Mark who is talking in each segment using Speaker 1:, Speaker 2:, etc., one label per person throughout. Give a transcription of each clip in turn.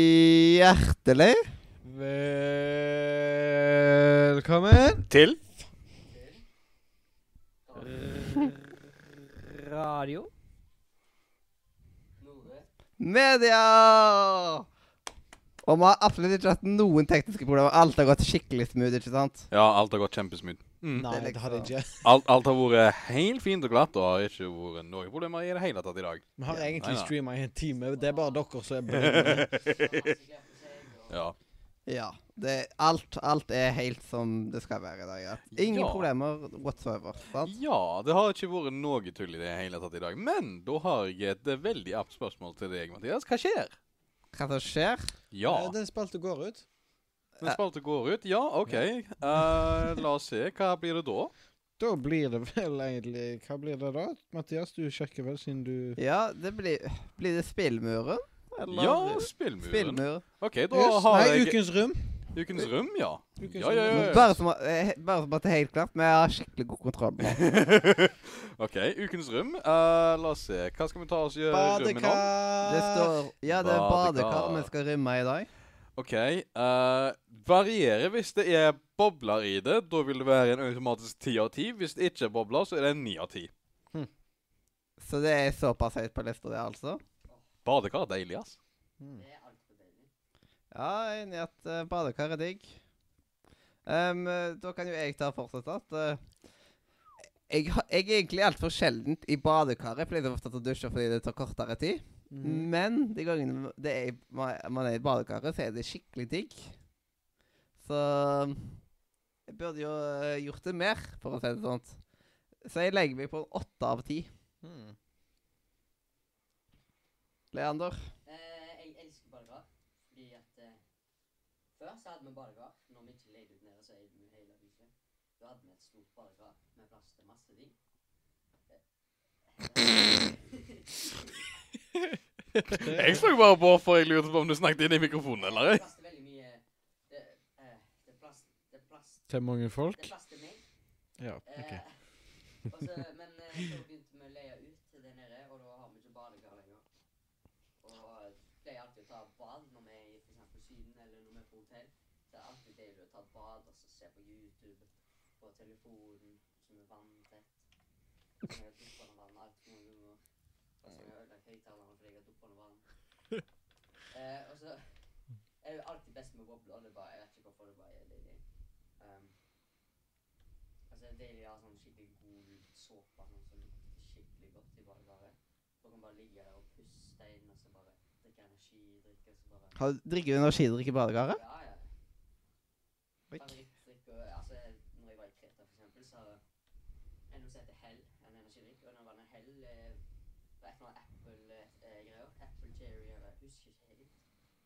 Speaker 1: Hjertelig
Speaker 2: Velkommen
Speaker 3: Til
Speaker 4: Radio.
Speaker 1: media! Og vi har absolutt ikke hatt noen tekniske problemer. Alt har gått skikkelig smooth, ikke sant?
Speaker 3: Ja, alt har gått kjempesmooth.
Speaker 2: Nei,
Speaker 1: Det er
Speaker 2: det har det ikke.
Speaker 3: Alt, alt har vært helt fint og glatt og har ikke vært noen problemer i det hele tatt i dag.
Speaker 2: Vi har egentlig
Speaker 3: Nei, nei.
Speaker 2: streama i en time. Det er bare dere som er blinde.
Speaker 3: Ja.
Speaker 1: Ja. Det, alt, alt er helt som det skal være i dag. ja. Ingen
Speaker 3: Ja.
Speaker 1: problemer whatsoever. sant?
Speaker 3: ja, det har ikke vært noe tull i det hele tatt i dag. Men da har jeg et eh, veldig apt spørsmål til deg, Mathias. Hva skjer?
Speaker 1: Hva som skjer?
Speaker 3: Ja.
Speaker 2: Eh, Den spalte går ut.
Speaker 3: Den spalte går ut. Ja, OK. Eh, la oss se. Hva blir det da?
Speaker 2: Da blir det vel egentlig Hva blir det da? Mathias, du sjekker vel siden du
Speaker 1: Ja, det blir Blir det spillmuren?
Speaker 3: Ja, spillmuren.
Speaker 1: Spillmur.
Speaker 3: OK, da
Speaker 2: Yes.
Speaker 3: har
Speaker 2: Nei,
Speaker 3: jeg
Speaker 2: Ukens rom.
Speaker 3: Ukens rom, ja.
Speaker 2: Ukens
Speaker 3: Ja, ja,
Speaker 2: rom.
Speaker 3: ja.
Speaker 1: Bare som, eh, bare som at det er helt klart, vi har skikkelig god kontroll på det.
Speaker 3: OK, ukens rom. Eh, la oss se. Hva skal vi ta oss i rommet om?
Speaker 1: Det
Speaker 2: Badekar.
Speaker 1: står Ja, det er
Speaker 3: Badekar.
Speaker 1: badekar vi skal rømme i dag.
Speaker 3: OK. eh, varierer hvis det er bobler i det. Da vil det være en automatisk ti av ti. Hvis det ikke er bobler, så er det en ni av ti.
Speaker 1: Så det er såpass høyt på lista, det, altså.
Speaker 3: Badekar er deilig, ass.
Speaker 2: Mm.
Speaker 1: Ja, jeg er enig i at eh, badekar er digg. Ehm, eh, da kan jo jeg ta og fortsette at eh, jeg, har- jeg er egentlig altfor sjeldent i badekaret. Jeg pleier ofte å dusje fordi det tar kortere tid.
Speaker 2: Mhm.
Speaker 1: Men de gangene det er, i- man man er i badekaret, så er det skikkelig digg. Så jeg burde jo eh, gjort det mer, for å si det sånn. Så jeg legger meg på en åtte av ti.
Speaker 2: Mm.
Speaker 1: Leander.
Speaker 5: Eh, jeg elsker badekar. Fordi at eh, Før så hadde vi badekar. Når vi ikke leide ut nede, så eide vi hele huset. Da hadde vi et stort badekar med plass til masse ting.
Speaker 3: Jeg så bare på for jeg lurte på om du snakket inn i mikrofonen eller
Speaker 5: Det
Speaker 3: ei.
Speaker 5: er plass til veldig mye Det, eh, det er plass Det er plass
Speaker 2: Til mange
Speaker 5: Det
Speaker 2: folk?
Speaker 5: er plass til meg.
Speaker 2: Ja.
Speaker 5: Eh,
Speaker 2: ok.
Speaker 5: og så- men eh, så begynte vi å leie ut til der nede, og da har vi ikke badekar lenger. Og eh, pleier alltid å ta bad når vi er i for eksempel Syden eller når vi er på hotell. Det er alltid deilig å ta bad og så se på YouTube på telefonen som er vanntett. Og så er duppende vann alt for mange ganger. Og så har jeg ødelagt høyttaleren fordi jeg har duppende vann. Eh, og så er det alltid best med bobler. Det er bare, jeg vet ikke hvorfor det bare er deilig. Um, Altså, det er deilig å ha sånn skikkelig god såpe sånn som lukter skikkelig godt i badekaret. Du kan bare ligge der og puste inn, og så bare drikke energidrikk, og så bare
Speaker 1: Har- Drikker du energidrikk i badekaret?
Speaker 5: Ja, ja. Favorittdrikk og Altså, når jeg var i Kreta, for eksempel, så er det noe som heter Hell, en energidrikk, og den var en Hell eh, Det er et eller annet Apple-greier. Apple Cherry, eller jeg husker ikke helt.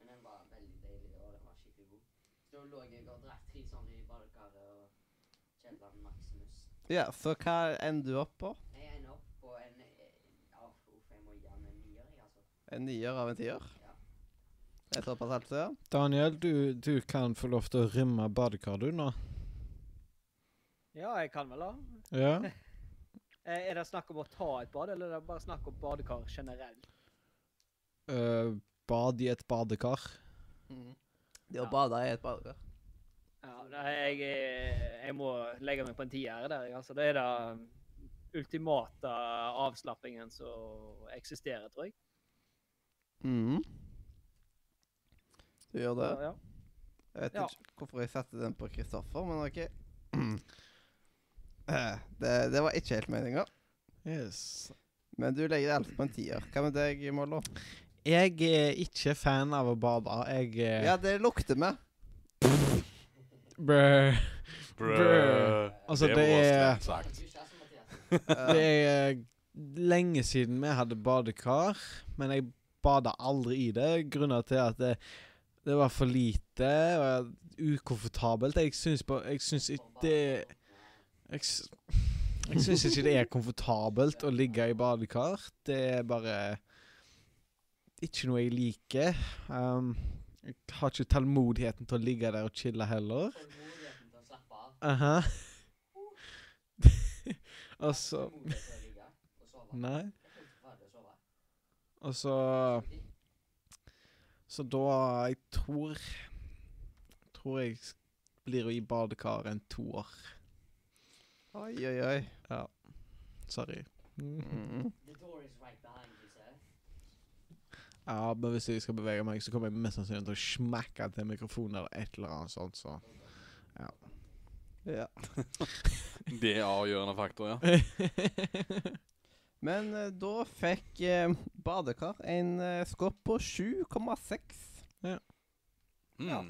Speaker 5: Men den var veldig deilig, og den var skikkelig god. Så da lå jeg og drakk tre sånne i badekaret og Kielland Maximus.
Speaker 1: Ja, så hva ender du opp på?
Speaker 5: Jeg ender opp på en eh, Ja, uff, jeg må gi han en nier, jeg, altså.
Speaker 1: En nier av en tier?
Speaker 5: Ja.
Speaker 1: Det er såpass altså, ja?
Speaker 2: Daniel, du, du kan få lov til å rømme badekar, du, nå.
Speaker 4: Ja, jeg kan vel da.
Speaker 2: Ja.
Speaker 4: Eh, Er det snakk om å ta et bad, eller er det bare snakk om badekar generelt?
Speaker 2: Eh, bad i et badekar.
Speaker 1: Det å
Speaker 4: Ja.
Speaker 1: bade i et badekar.
Speaker 4: Ja, nei, jeg, er- jeg må legge meg på en tier der. jeg, Altså, det er den ultimate avslappingen som eksisterer, tror jeg.
Speaker 1: Mm. Du gjør det?
Speaker 4: Så, ja.
Speaker 1: Jeg vet
Speaker 4: Ja.
Speaker 1: ikke hvorfor jeg satte den på Kristoffer, men OK. Eh, det, det var ikke helt meninga.
Speaker 2: Yes.
Speaker 1: Men du legger deg altså på en tier. Hva med deg, Mollo?
Speaker 2: Jeg er ikke fan av å bade. Jeg er
Speaker 1: Ja, det lukter vi.
Speaker 2: Brr. Brr. Altså, det er-
Speaker 3: var slemt sagt.
Speaker 5: Du kjæresten, Mathias.
Speaker 1: Eh,
Speaker 2: Det er eh, lenge siden vi hadde badekar, men jeg bada aldri i det. Grunner til at det, det var for lite og ukomfortabelt. Jeg syns, på, jeg syns ikke det Jeg, s- jeg syns ikke det er komfortabelt å ligge i badekar. Det er bare ikke noe jeg liker. Um, jeg har ikke tålmodigheten til å ligge der og chille heller.
Speaker 5: Får du muligheten til å slappe av?
Speaker 2: Aha. og så
Speaker 5: Får du mulighet til å ligge
Speaker 2: Mm.
Speaker 5: og sove?
Speaker 2: Nei.
Speaker 5: Altså, Jeg tenkte bare å sove.
Speaker 2: Og så
Speaker 5: Fordi-
Speaker 2: Så da Jeg tror Tror jeg s- blir i badekar en toer.
Speaker 1: Oi, oi, oi.
Speaker 2: Sorry.
Speaker 1: Mm.
Speaker 5: The door is right behind you, sir.
Speaker 2: Ja, men hvis jeg skal bevege meg, så kommer jeg mest sannsynlig til å smekke til mikrofonen eller et eller annet sånt, så
Speaker 1: Ja.
Speaker 3: Det er avgjørende faktor, ja.
Speaker 1: Men eh, da fikk eh, badekar en eh, score på 7,6.
Speaker 3: Mm. Ja,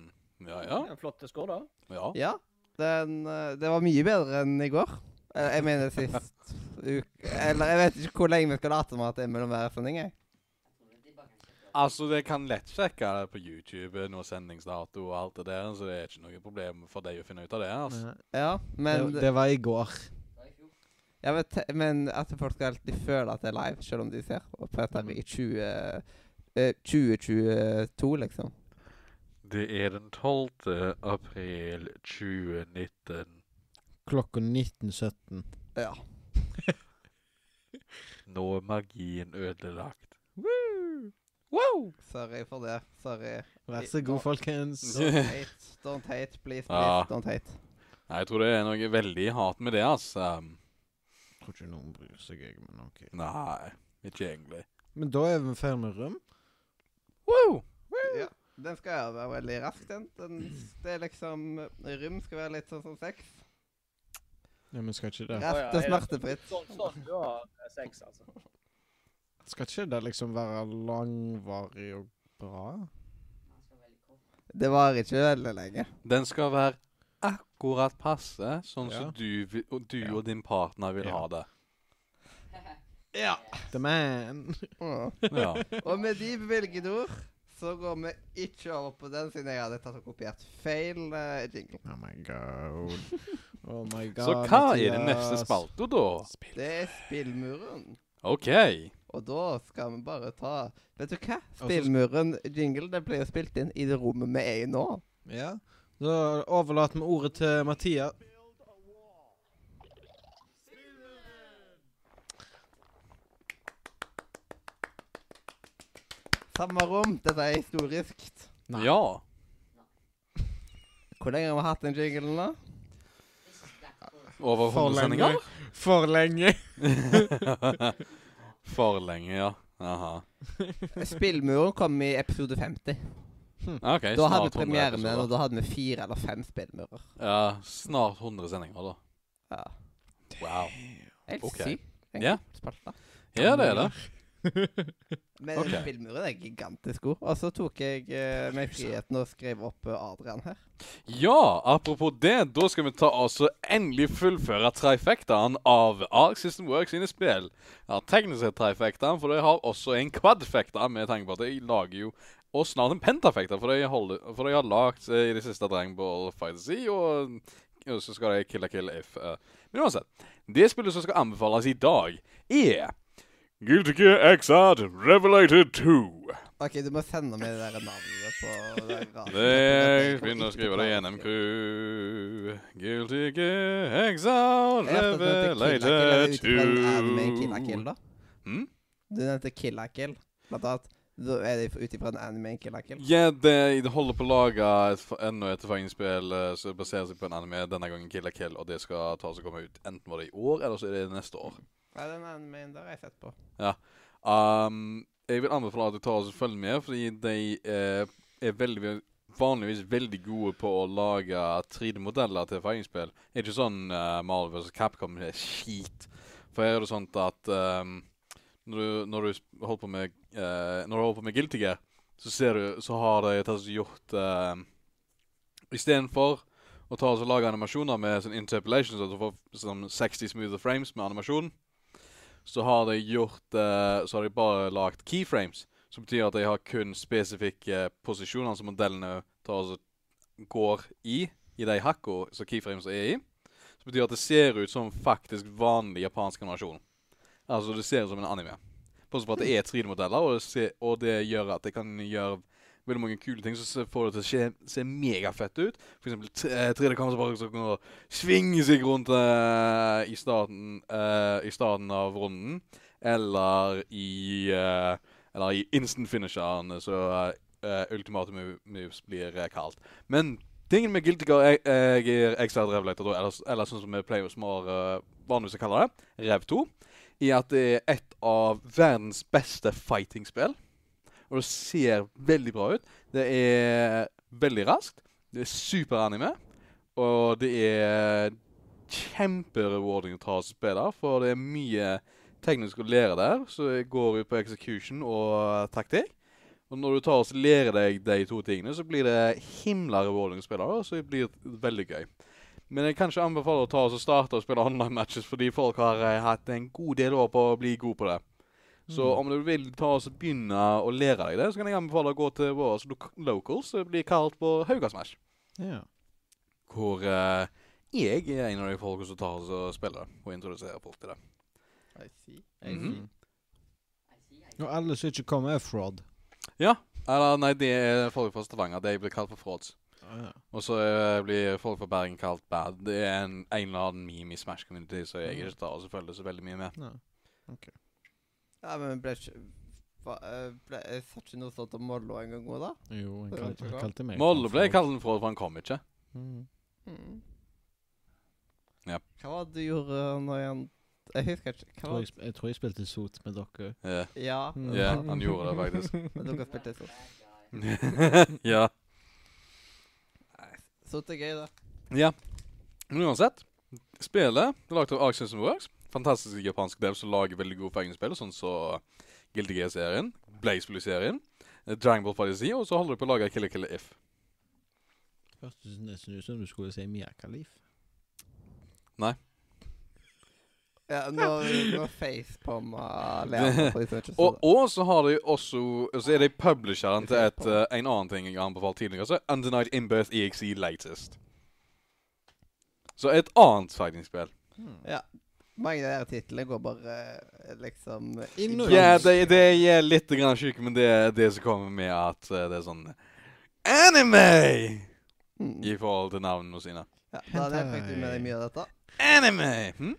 Speaker 3: ja.
Speaker 4: Ja, Flotte skår, da.
Speaker 3: ja.
Speaker 1: Ja. Den, eh, det var mye bedre enn i går. Eh, Jeg mener sist uke Eller jeg vet ikke hvor lenge vi skal late som at det er mellom hver sending. jeg.
Speaker 5: Jeg tror de bare kan sjekke opp.
Speaker 3: Altså, det kan lett sjekke det på YouTube når sendingsdato og alt det der, så det er ikke noe problem for deg å finne ut av det. altså.
Speaker 2: Nei.
Speaker 1: Ja, men,
Speaker 2: det, det var i går.
Speaker 5: Det var i fjor.
Speaker 1: ja, men, te- men at folk skal alltid føle at det er live, selv om de ser. Og på dette i 20, eh, 2022, liksom.
Speaker 3: Det er den 12. april 2019.
Speaker 2: Klokka 19.17.
Speaker 1: Ja.
Speaker 3: Nå er magien ødelagt.
Speaker 1: Sorry for det. Sorry.
Speaker 2: Vær så god, folkens.
Speaker 1: Don't hate. Don't hate, please. please
Speaker 3: Ja.
Speaker 1: Don't hate.
Speaker 3: Nei, jeg tror det er noe veldig hat med det, altså.
Speaker 2: Tror ikke noen bryr seg, jeg, men OK.
Speaker 3: Nei, ikke egentlig.
Speaker 2: Men da er vi ferdig med rom.
Speaker 3: Wow!
Speaker 1: Ja. Den skal jeg være veldig rask, den. den. Det er liksom Rym skal være litt sånn som sex.
Speaker 2: Ja, men skal ikke det
Speaker 1: Rett
Speaker 4: Å, ja,
Speaker 1: og
Speaker 4: er det
Speaker 1: smertefritt.
Speaker 4: Sånn, sånn du har eh, sex, altså.
Speaker 2: Skal ikke det liksom være langvarig og bra?
Speaker 5: Han skal være litt kort.
Speaker 1: Det varer ikke veldig lenge.
Speaker 3: Den skal være akkurat passe, sånn
Speaker 2: Ja.
Speaker 3: som du, vil- og, du
Speaker 2: Ja.
Speaker 3: og din partner vil
Speaker 2: Ja.
Speaker 3: ha det.
Speaker 1: Ja.
Speaker 2: The man.
Speaker 1: Mm.
Speaker 3: Ja.
Speaker 1: Og med de bevilgede ord så går vi ikke over på den, siden jeg hadde tatt og kopiert feil eh, jingle.
Speaker 2: Oh my god. Oh my god.
Speaker 3: Så hva er det neste
Speaker 2: Mathias.
Speaker 3: spalte, da?
Speaker 1: Det er Spillmuren.
Speaker 3: OK.
Speaker 1: Og da skal vi bare ta Vet du hva?
Speaker 2: så-
Speaker 1: Spillmuren-jingle det ble jo spilt inn i det rommet vi er i nå.
Speaker 2: Ja. Da overlater vi ordet til Mathias.
Speaker 1: Samme rom. Dette er historisk.
Speaker 2: Nei.
Speaker 3: Ja.
Speaker 1: Hvor lenge har vi hatt den jinglen nå?
Speaker 5: This is black forest.
Speaker 3: Over 100 sendinger?
Speaker 2: For lenge.
Speaker 3: For lenge, ja. Aha.
Speaker 1: Spillmuren kom i episode 50.
Speaker 3: OK,
Speaker 1: Da hadde
Speaker 3: snart
Speaker 1: vi premiere med
Speaker 3: 100
Speaker 1: den, og
Speaker 3: episoder.
Speaker 1: da hadde vi fire eller fem spillmurer.
Speaker 3: Ja, snart 100 sendinger, da.
Speaker 1: Ja.
Speaker 3: Wow.
Speaker 1: Helt
Speaker 3: Ok.
Speaker 1: sykt. egentlig,
Speaker 3: Ja.
Speaker 1: spalte.
Speaker 3: Ja, det er det.
Speaker 1: Men
Speaker 3: Ok.
Speaker 1: spillmuren er gigantisk god. Og så tok jeg eh, meg friheten og skrev opp eh, Adrian her.
Speaker 3: Ja, apropos det, da skal vi ta oss og endelig fullføre trifectaen av Ark System Works sine spill. Ja, teknisk sett trifectaen, for de har også en quadfecta, med tanke på at de lager jo og snart en pentafecta, for de, holder, for de har lagd eh, i det siste Dragon Ball Fighter Z, og, og så skal de Kill a Kill If. eh. Men uansett, det spillet som skal anbefales i dag, er Guilty Gear Xrd Revelated 2.
Speaker 1: OK, du må sende meg det der navnet på det radioen.
Speaker 3: Det begynner å skrive det i NMQ. Guilty gear, exile,
Speaker 1: Jeg hørte at du nevnte Kill la
Speaker 3: revelated
Speaker 1: Kill, eller utbredt anime i Kill la Kill, da.
Speaker 3: Hmm?
Speaker 1: Du nevnte Kill la Kill, blant annet. Da er det ut ifra en anime i Kill la Kill.
Speaker 3: Ja, det de holder på å lage et f- enda et fangespill eh, som baserer seg på en anime, denne gangen Kill la Kill, og det skal ta seg komme ut enten var det i år, eller så er det neste år.
Speaker 1: Ja, den animeen der har jeg sett på.
Speaker 3: Um, jeg vil anbefale at du tar og følger med, fordi de eh, er veldig, vanligvis veldig gode på å lage 3D-modeller til fangespill. Det er Ikke sånn eh, Marvel vs. Capcom det er skit. For her er det sånn at um, når, du, når, du sp- holder på med, eh, når du holder på med Guilty Gear, så ser du, så har de tatt og gjort uh, Istedenfor å ta og så lage animasjoner med sånn interpolation, så du får sånn 60 smoother frames med animasjon, så har de gjort eh, Så har de bare lagd keyframes. Som betyr at de har kun spesifikke posisjoner som modellene tar, altså, går i, i de hakka som keyframes er i. Som betyr at det ser ut som faktisk vanlig japansk animasjon. Altså det ser ut som en anime. Bortsett fra at det er 3D-modeller, og, det ser- og det gjør at det kan gjøre veldig mange kule ting som se- får det til å se, se megafett ut. For eksempel 3D-kamera som bare som kan svinge seg rundt eh, i, starten, eh, i starten av runden. Eller i eh, Eller i instant finisheren, så eh, Ultimate move, Moves blir eh, kalt. Men tingen med Guilty Gear jeg, jeg er ekstra drevet etter, da, eller, eller sånn som vi pleier som har eh, vanligvis å kalle det, Rev 2, i at det er et av verdens beste fighting-spill. Og det ser veldig bra ut. Det er veldig raskt. Det er superanime. Og det er kjemperewarding å ta og spille, for det er mye teknisk å lære der, så det går ut på execution og taktikk. Og når du tar og lærer deg de to tingene, så blir det himla rewarding å spille, og så blir det veldig gøy. Men jeg kan ikke anbefale å ta og så starte å spille online matches, fordi folk har eh, hatt en god del år på å bli god på det. Så om du vil ta og så begynne å lære deg det, så kan jeg anbefale å gå til våre lo locals, som blir kalt på Haugasmash
Speaker 2: Ja.
Speaker 3: hvor eh, jeg er en av de folkene som tar oss og spiller det, og introduserer folk til det.
Speaker 1: I see.
Speaker 3: Mhm.
Speaker 5: I see, I
Speaker 2: Og alle som ikke kommer, er fraud.
Speaker 3: Eller nei, det er folk fra Stavanger. De blir kalt for frauds.
Speaker 2: Ah,
Speaker 3: Og så eh, blir folk fra Bergen kalt bad. Det er en, en eller annen meme i Smash Community, så jeg ikke tar og så følger så veldig mye med.
Speaker 2: Ja.
Speaker 1: Ja, men ble ikke hva, eh, ble, Jeg sa ikke noe sånt om Mollo en gang òg, da?
Speaker 2: Jo, han
Speaker 1: Det er
Speaker 2: kalte,
Speaker 1: ikke
Speaker 2: han
Speaker 1: bra.
Speaker 2: kalte meg
Speaker 3: Molde ble
Speaker 2: fraud.
Speaker 3: kalt en fraud, for han kom ikke.
Speaker 2: Mm.
Speaker 3: Ja.
Speaker 1: Hva var det du gjorde når jeg Jeg husker ikke. Hva
Speaker 2: Tror
Speaker 1: var
Speaker 2: jeg, sp- jeg tror jeg spilte sot med dere.
Speaker 3: Ja,
Speaker 1: Ja.
Speaker 2: Mm.
Speaker 3: Ja, han gjorde det faktisk.
Speaker 1: Men dere spilte sånn.
Speaker 5: see.
Speaker 3: ja.
Speaker 1: Så det er gøy, da.
Speaker 3: Ja. Men uansett, spillet er lagd av Ark System Works. Fantastisk japansk dev som lager veldig gode fengselspill, sånn som så Guilty Gear-serien, Blaze Blue-serien, eh, Dragon Ball Fantasy, og så holder de på å lage Killer Killer If.
Speaker 2: Først så nesten ut som du skulle si Mia Khalif.
Speaker 1: Ja, nå, nå facepalma Leander, for de som ikke så
Speaker 3: Og,
Speaker 1: det.
Speaker 3: og så har de også Så er de publisheren til et, eh, en annen ting jeg har anbefalt tidligere, så er Undenied Inbirth EXE E Latest. Så et annet fighting-spill.
Speaker 1: Mange av de her titlene går bare eh, liksom
Speaker 2: Inn og ut.
Speaker 3: Ja, det, det er litt grann syke, men det er det som kommer med at eh, det er sånn Anime!
Speaker 1: Mm.
Speaker 3: i forhold til navnene sine.
Speaker 1: Ja, Daniel, fikk du med deg mye av dette?
Speaker 3: Anime! Hm?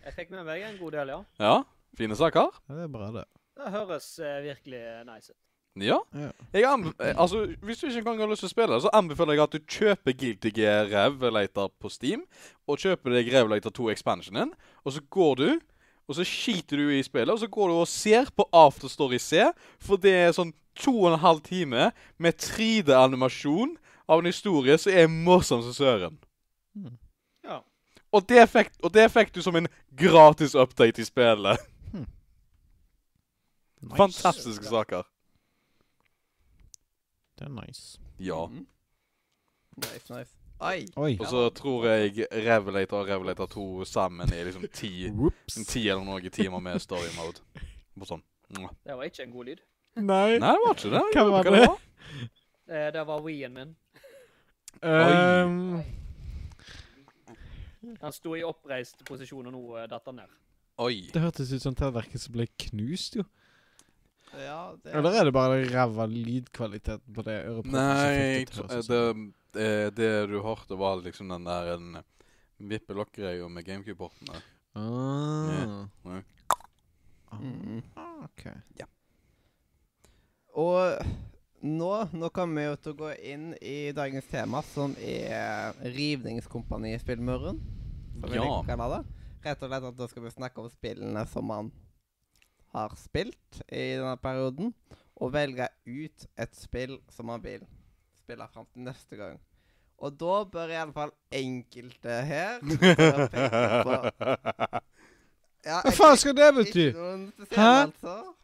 Speaker 4: Jeg fikk med meg en god del, ja.
Speaker 3: Ja, fine saker.
Speaker 2: Ja, det er bra, det.
Speaker 4: Det høres eh, virkelig nice ut.
Speaker 3: Ja.
Speaker 2: Ja.
Speaker 3: Jeg anbe eh, altså, hvis du ikke engang har lyst til å spille, det, så anbefaler jeg at du kjøper Guilty Gear Revelator på Steam, og kjøper deg Revelator 2 Expansionen, og så går du, og så skiter du i spillet, og så går du og ser på Afterstory C, for det er sånn to og en halv time med 3D-animasjon av en historie som er morsom som søren.
Speaker 2: Hmm.
Speaker 4: Ja.
Speaker 3: Og det fikk, og det fikk du som en gratis update i spillet.
Speaker 2: Hmm. Nice.
Speaker 3: Fantastiske saker.
Speaker 2: Det er nice.
Speaker 3: Ja.
Speaker 1: Mhm. Nice, nice. Ai.
Speaker 2: Oi.
Speaker 3: Og så tror jeg Revelator og Revelator 2 sammen er liksom ti,
Speaker 2: Whoops.
Speaker 3: en ti eller noen timer med story mode. Bare sånn. Mwah.
Speaker 4: Det var ikke en god lyd.
Speaker 2: Nei.
Speaker 3: Nei, det var ikke det.
Speaker 2: Hva var
Speaker 3: Hva
Speaker 2: det?
Speaker 4: Eh, det var Wii-en min.
Speaker 2: Um,
Speaker 4: Han sto i oppreist posisjon, og nå eh, datt han ned.
Speaker 3: Oi.
Speaker 2: det hørtes ut som tallverket som ble knust, jo.
Speaker 1: Ja, det
Speaker 2: Eller er det bare ræva lydkvaliteten på det øreproppet?
Speaker 3: Nei, jeg tr- eh, det, eh, det du hørte, var liksom den der en vippelokk-greia med GameCube-portene.
Speaker 2: ah.
Speaker 3: Nei.
Speaker 1: Mm.
Speaker 2: Ah, OK.
Speaker 1: Og nå, nå kommer vi jo til å gå inn i dagens tema, som er Rivningskompani-spillmuren. Som vi
Speaker 3: Ja.
Speaker 1: liker å kalle det. Rett og slett at da skal vi snakke om spillene som man har spilt i denne perioden, og velge ut et spill som man vil spille fram til neste gang. Og da bør iallfall enkelte her bør peke på ja,
Speaker 2: Hva faen skal det bety?
Speaker 1: Ikke noen spesielle,
Speaker 2: Hæ?
Speaker 1: altså.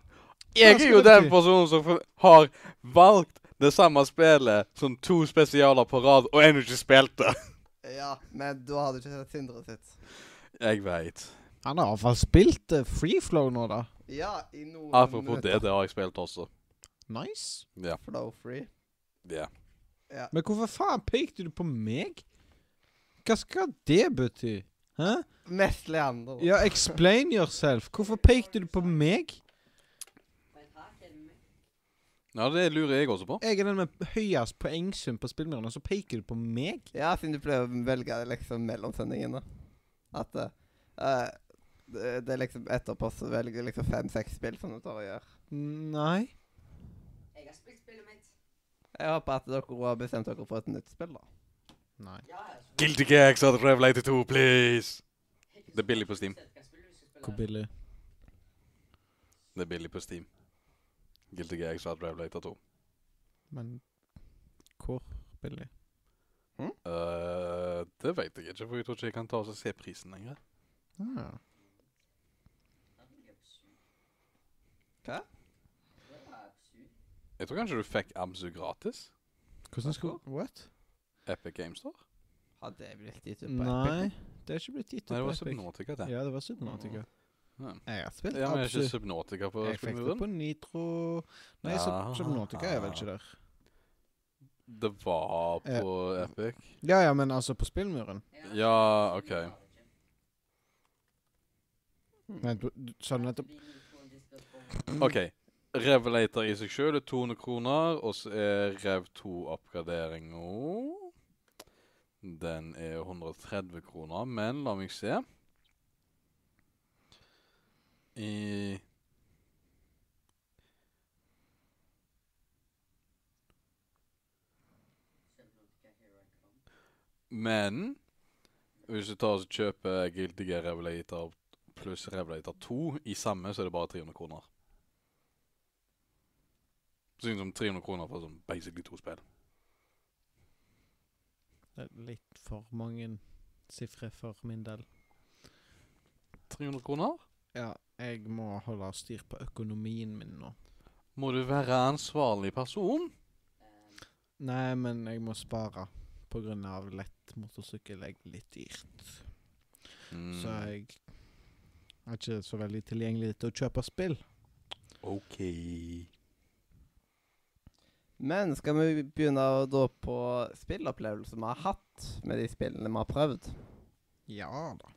Speaker 3: Jeg er jo
Speaker 2: Hva skal det
Speaker 3: den
Speaker 2: bety?
Speaker 3: personen som f- har valgt det samme spillet som to spesialer på rad, og ennå ikke spilt det.
Speaker 1: Ja, men da har du ikke sett Sindre sitt.
Speaker 3: Jeg veit.
Speaker 2: Han har iallfall spilt eh, free flow nå, da.
Speaker 1: Ja, i noen
Speaker 3: Apropos
Speaker 1: minutter.
Speaker 3: det, det har jeg spilt også.
Speaker 2: Nice.
Speaker 3: Ja.
Speaker 1: Flow free.
Speaker 3: ja.
Speaker 1: Ja.
Speaker 2: Men hvorfor faen pekte du på meg? Hva skal det bety? Hæ?
Speaker 1: Mest Leander.
Speaker 2: Ja, explain yourself. Hvorfor pekte du på meg?
Speaker 5: Men her er det meg.
Speaker 3: ja, det lurer jeg også på.
Speaker 2: Jeg er den med høyest poengsum på spillmuren, og så peker du på meg?
Speaker 1: Ja, siden du pleier å velge det liksom mellom sendingene. At eh, eh, det, det er liksom etterpå så velger du liksom fem-seks spill som du tar og gjør.
Speaker 2: Nei.
Speaker 5: Jeg har spilt spillet mitt.
Speaker 1: Jeg håper at dere har bestemt dere for et nytt spill, da.
Speaker 2: Nei.
Speaker 5: Ja, ja, så-
Speaker 3: Guilty Gear Xenoblade Revelator 2, please! Det er billig på Steam.
Speaker 5: Hva spiller du skal spille?
Speaker 2: Hvor billig?
Speaker 3: Det er billig på Steam. Guilty Gear Xenoblade Revelator 2.
Speaker 2: Men hvor billig?
Speaker 3: Eh, det vet jeg ikke, for jeg tror ikke jeg kan ta og se prisen lenger.
Speaker 2: Ah.
Speaker 1: Hva?
Speaker 5: Det var absurd.
Speaker 3: Jeg tror kanskje du fikk Abzu gratis?
Speaker 2: Hvordan skulle What?
Speaker 3: Epic Games Store?
Speaker 1: Har det blitt gitt ut på
Speaker 2: Nei,
Speaker 1: Epic?
Speaker 2: det er ikke blitt gitt ut
Speaker 3: Nei, det
Speaker 2: på
Speaker 3: var
Speaker 2: Epic.
Speaker 3: Subnautica, det.
Speaker 2: Ja, det var Subnautica.
Speaker 3: Ja.
Speaker 2: Jeg har spilt
Speaker 3: Ja, men er ikke
Speaker 2: absolutt
Speaker 3: Subnautica på
Speaker 2: Jeg fikk det
Speaker 3: spillmuren?
Speaker 2: på Nitro Nei, Sub-
Speaker 3: Ja.
Speaker 2: Subnautica er vel ikke der.
Speaker 3: Det var
Speaker 2: Eh.
Speaker 3: på Epic.
Speaker 2: Ja ja, men altså på spillmuren.
Speaker 3: Ja, OK.
Speaker 2: Nei, du, du sa det nettopp.
Speaker 3: OK. Revelator i seg sjøl er 200 kroner, og så er Rev 2-oppgraderinga Den er 130 kroner, men la meg se I Men hvis du tar og kjøper Guilty Gear Revelator pluss Revelator 2 i samme, så er det bare 300 kroner. Synes som 300 kroner for sånn basically to spill.
Speaker 2: Det er litt for mange sifre for min del.
Speaker 3: 300 kroner?
Speaker 2: Ja, jeg må holde styr på økonomien min nå.
Speaker 3: Må du være ansvarlig person?
Speaker 2: Nei, men jeg må spare. På grunn av lett motorsykkel er litt dyrt.
Speaker 3: Mm.
Speaker 2: Så jeg er ikke så veldig tilgjengelig til å kjøpe spill.
Speaker 3: OK.
Speaker 1: Men skal vi begynne å da på spillopplevelser vi har hatt med de spillene vi har prøvd?
Speaker 2: Ja da.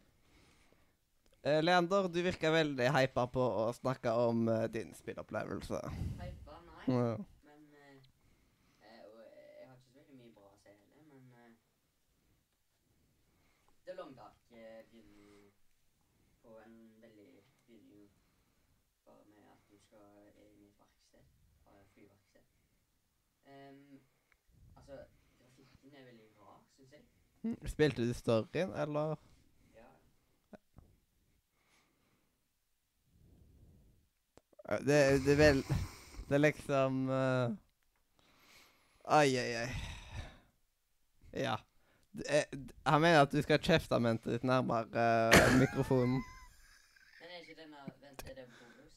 Speaker 1: Eh, Leander, du virker veldig hypa på å snakke om eh, din spillopplevelse.
Speaker 5: Hypa, nei.
Speaker 1: Ja.
Speaker 5: Men eh, eh, og jeg har ikke så veldig mye bra å si heller, men eh, The Long Dark eh, begynner på en veldig begynner jo bare med at du skal inn i et verksted, ha et flyverksted. Ehm, altså, grafikken er veldig rar, synes jeg.
Speaker 1: Mm, Spilte du storyen, eller?
Speaker 5: Ja,
Speaker 1: Eh, Det, det er vel Det er liksom eh, Ai, ai, ai. Ja. Det er- d- Han mener at du skal kjefte mentet ditt nærmere eh, mikrofonen.
Speaker 5: men er ikke denne, vent, er det bonus?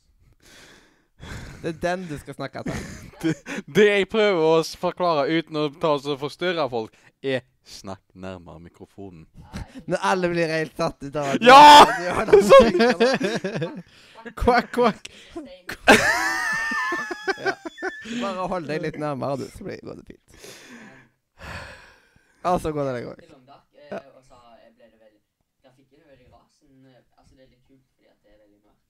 Speaker 1: Det er den du skal snakke til.
Speaker 3: Det jeg prøver å s- forklare uten å ta oss og forstyrre folk, er snakk nærmere mikrofonen.
Speaker 1: Når alle blir helt satt ut av at-
Speaker 3: Ja!
Speaker 1: at du har den stemmen.
Speaker 2: Kvakk, kvakk.
Speaker 5: Stein,
Speaker 1: Bare hold deg litt nærmere, du, så blir- går det fint. Ja, så går det deg òg.
Speaker 5: til Longdark, eh, og så eh, ble det vel Grafikken er veldig rar. Sånn, eh, altså det er litt kult fordi at det er veldig mørkt.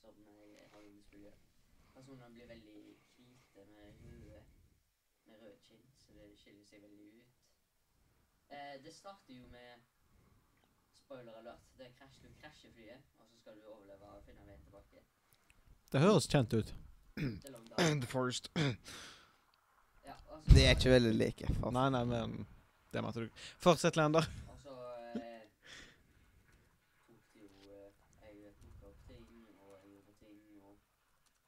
Speaker 5: Som jeg har jo lyst til å gjøre. Personene blir veldig hvite med hodet. Med rød kinn, så det skiller seg veldig ut. Eh, det starter jo med Spoiler alert. Det er krasj, du krasjer flyet, og så skal du overleve og finne veien tilbake.
Speaker 2: Det høres kjent ut.
Speaker 5: Til Longdark.
Speaker 2: The Forest.
Speaker 5: Ja, og så-
Speaker 1: De er ikke veldig like. For.
Speaker 2: Nei, nei, men det måtte du Fortsett, Leander.
Speaker 5: Og så eh, tok det jo eh, Jeg plukka opp ting, og jeg gjorde ting, og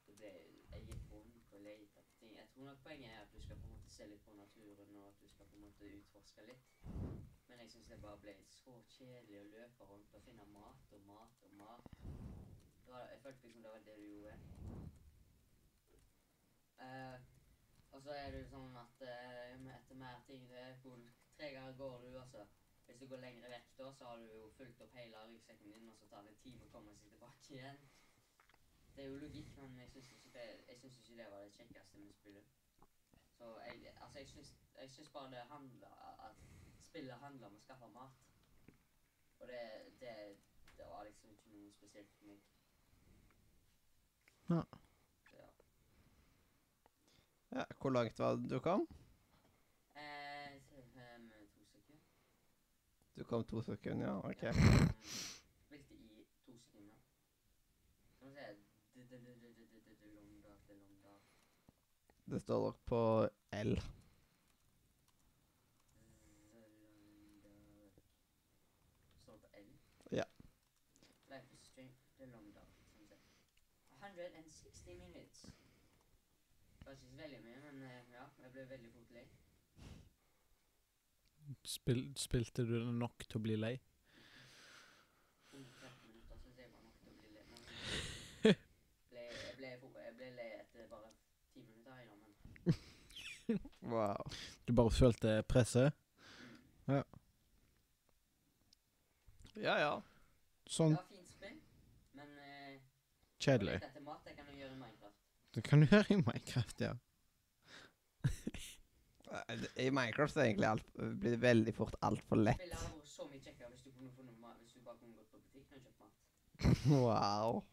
Speaker 5: det ble, jeg gikk rundt og lette etter ting. Jeg tror nok poenget er at du skal på en måte se litt på naturen, og at du skal på en måte utforske litt. Men jeg syns det bare ble så kjedelig å løpe rundt og finne mat og mat og mat. Det var, jeg følte liksom det var det du gjorde. Eh, og så er det jo sånn at eh, med- etter mer ting det er hvor tregere går du, altså. Hvis du går lengre vekk, da, så har du jo fulgt opp hele ryggsekken din, og så tar det en time å komme seg tilbake igjen. Det er jo logikk, men jeg syns ikke, det- jeg synes ikke det var det kjekkeste med spillet. Så jeg, altså jeg syns, jeg syns bare det handler At spillet handler om å skaffe mat. Og det, det, det var liksom ikke noe spesielt for meg.
Speaker 2: Ja.
Speaker 5: Så ja.
Speaker 1: Ja, hvor langt var det du kom?
Speaker 5: Eh, så, ehm, to sekunder.
Speaker 1: Du kom to sekunder, ja. OK.
Speaker 5: Spilte i to sekunder. Skal vi se D- d- d- d- d- d- d- d- Long dark, the long dark.
Speaker 1: Det står nok på L.
Speaker 5: Står det på L?
Speaker 1: Ja.
Speaker 5: Life is strange. The long dark. sånn sunset. 160 minutes. Det var ikke så veldig mye, men eh, ja, jeg ble veldig fort lei.
Speaker 2: Spil, spilte du det nok til å bli lei?
Speaker 5: 113 minutter synes jeg var nok til å bli lei. Men ble, jeg, ble, fort- jeg ble lei etter bare ti minutter. Jeg, da, men
Speaker 1: Wow.
Speaker 2: Du bare følte presset?
Speaker 1: Ja, ja.
Speaker 5: det
Speaker 2: Sånn
Speaker 5: var fint spill, men eh, å
Speaker 2: kjedelig.
Speaker 5: lete etter mat det kan jeg gjøre i Minecraft.
Speaker 2: Det kan du gjøre i Minecraft, ja.
Speaker 1: Eh, det- I Minecraft er egentlig alt, blir det veldig fort altfor lett.
Speaker 5: Spillet hadde vært så mye kjekkere hvis du kunne funnet mat hvis du bare kunne gått på butikken og kjøpt mat.
Speaker 1: Wow.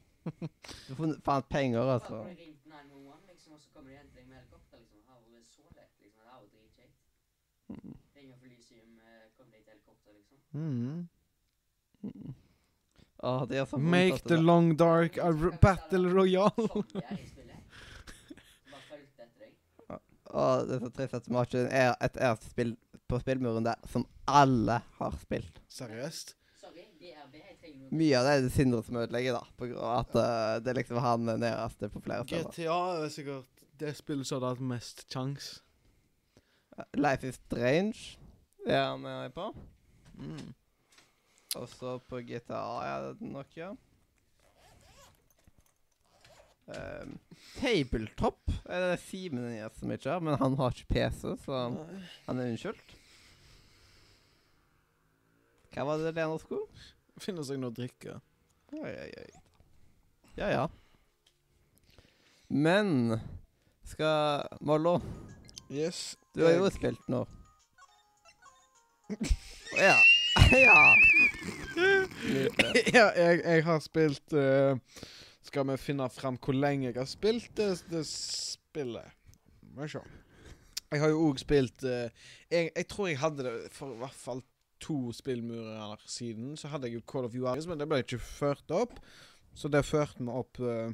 Speaker 1: Du fant- fant penger,
Speaker 5: Bare kunne
Speaker 1: altså.
Speaker 5: ringt 911, liksom, og så kommer de og henter deg med helikopter, liksom. Her var det så lett, liksom. Her var det dritkjekt. Ring og få lys i om eh, kom deg til helikopter, liksom.
Speaker 2: Mm.
Speaker 1: Mm. Åh, det gjør så altså. vondt.
Speaker 2: Make
Speaker 1: at
Speaker 2: the
Speaker 1: det-
Speaker 2: long dark a r battle royale.
Speaker 5: Zombier i spillet. Som Bare fulgte etter deg.
Speaker 1: Åh, det er så trist at vi har ikke en ære- et eneste spill på spillmuren der som alle har spilt.
Speaker 2: Seriøst?
Speaker 5: Sorry, DRB, jeg trenger noe.
Speaker 1: Mye av det er det Sindre som ødelegger, da. På grunn av at eh, det er liksom han er nærmeste på flere steder.
Speaker 2: GTA er sikkert det spillet som hadde hatt mest kjangs.
Speaker 1: Life is Strange er han med på.
Speaker 2: Mm.
Speaker 1: Og så på GTA er det nok, ja. Um, tabletop er det Simen gjør som ikke har, men han har ikke PC, så han er unnskyldt. Hva var det Lena skulle?
Speaker 2: Finner seg noe å drikke.
Speaker 1: Oi, oi, oi. Ja, ja. Men skal Mollo,
Speaker 2: Yes.
Speaker 1: du har jo spilt nå.
Speaker 2: Eh,
Speaker 1: Å ja. ja. Nydelig.
Speaker 2: ja, jeg, jeg har spilt eh, Skal vi finne fram hvor lenge jeg har spilt det, det spillet? Må vi se. Jeg har jo òg spilt eh, jeg, jeg tror jeg hadde det for i hvert fall to spillmurer siden. Så hadde jeg jo Call of Juarez, men det ble ikke ført opp. Så det førte vi opp eh,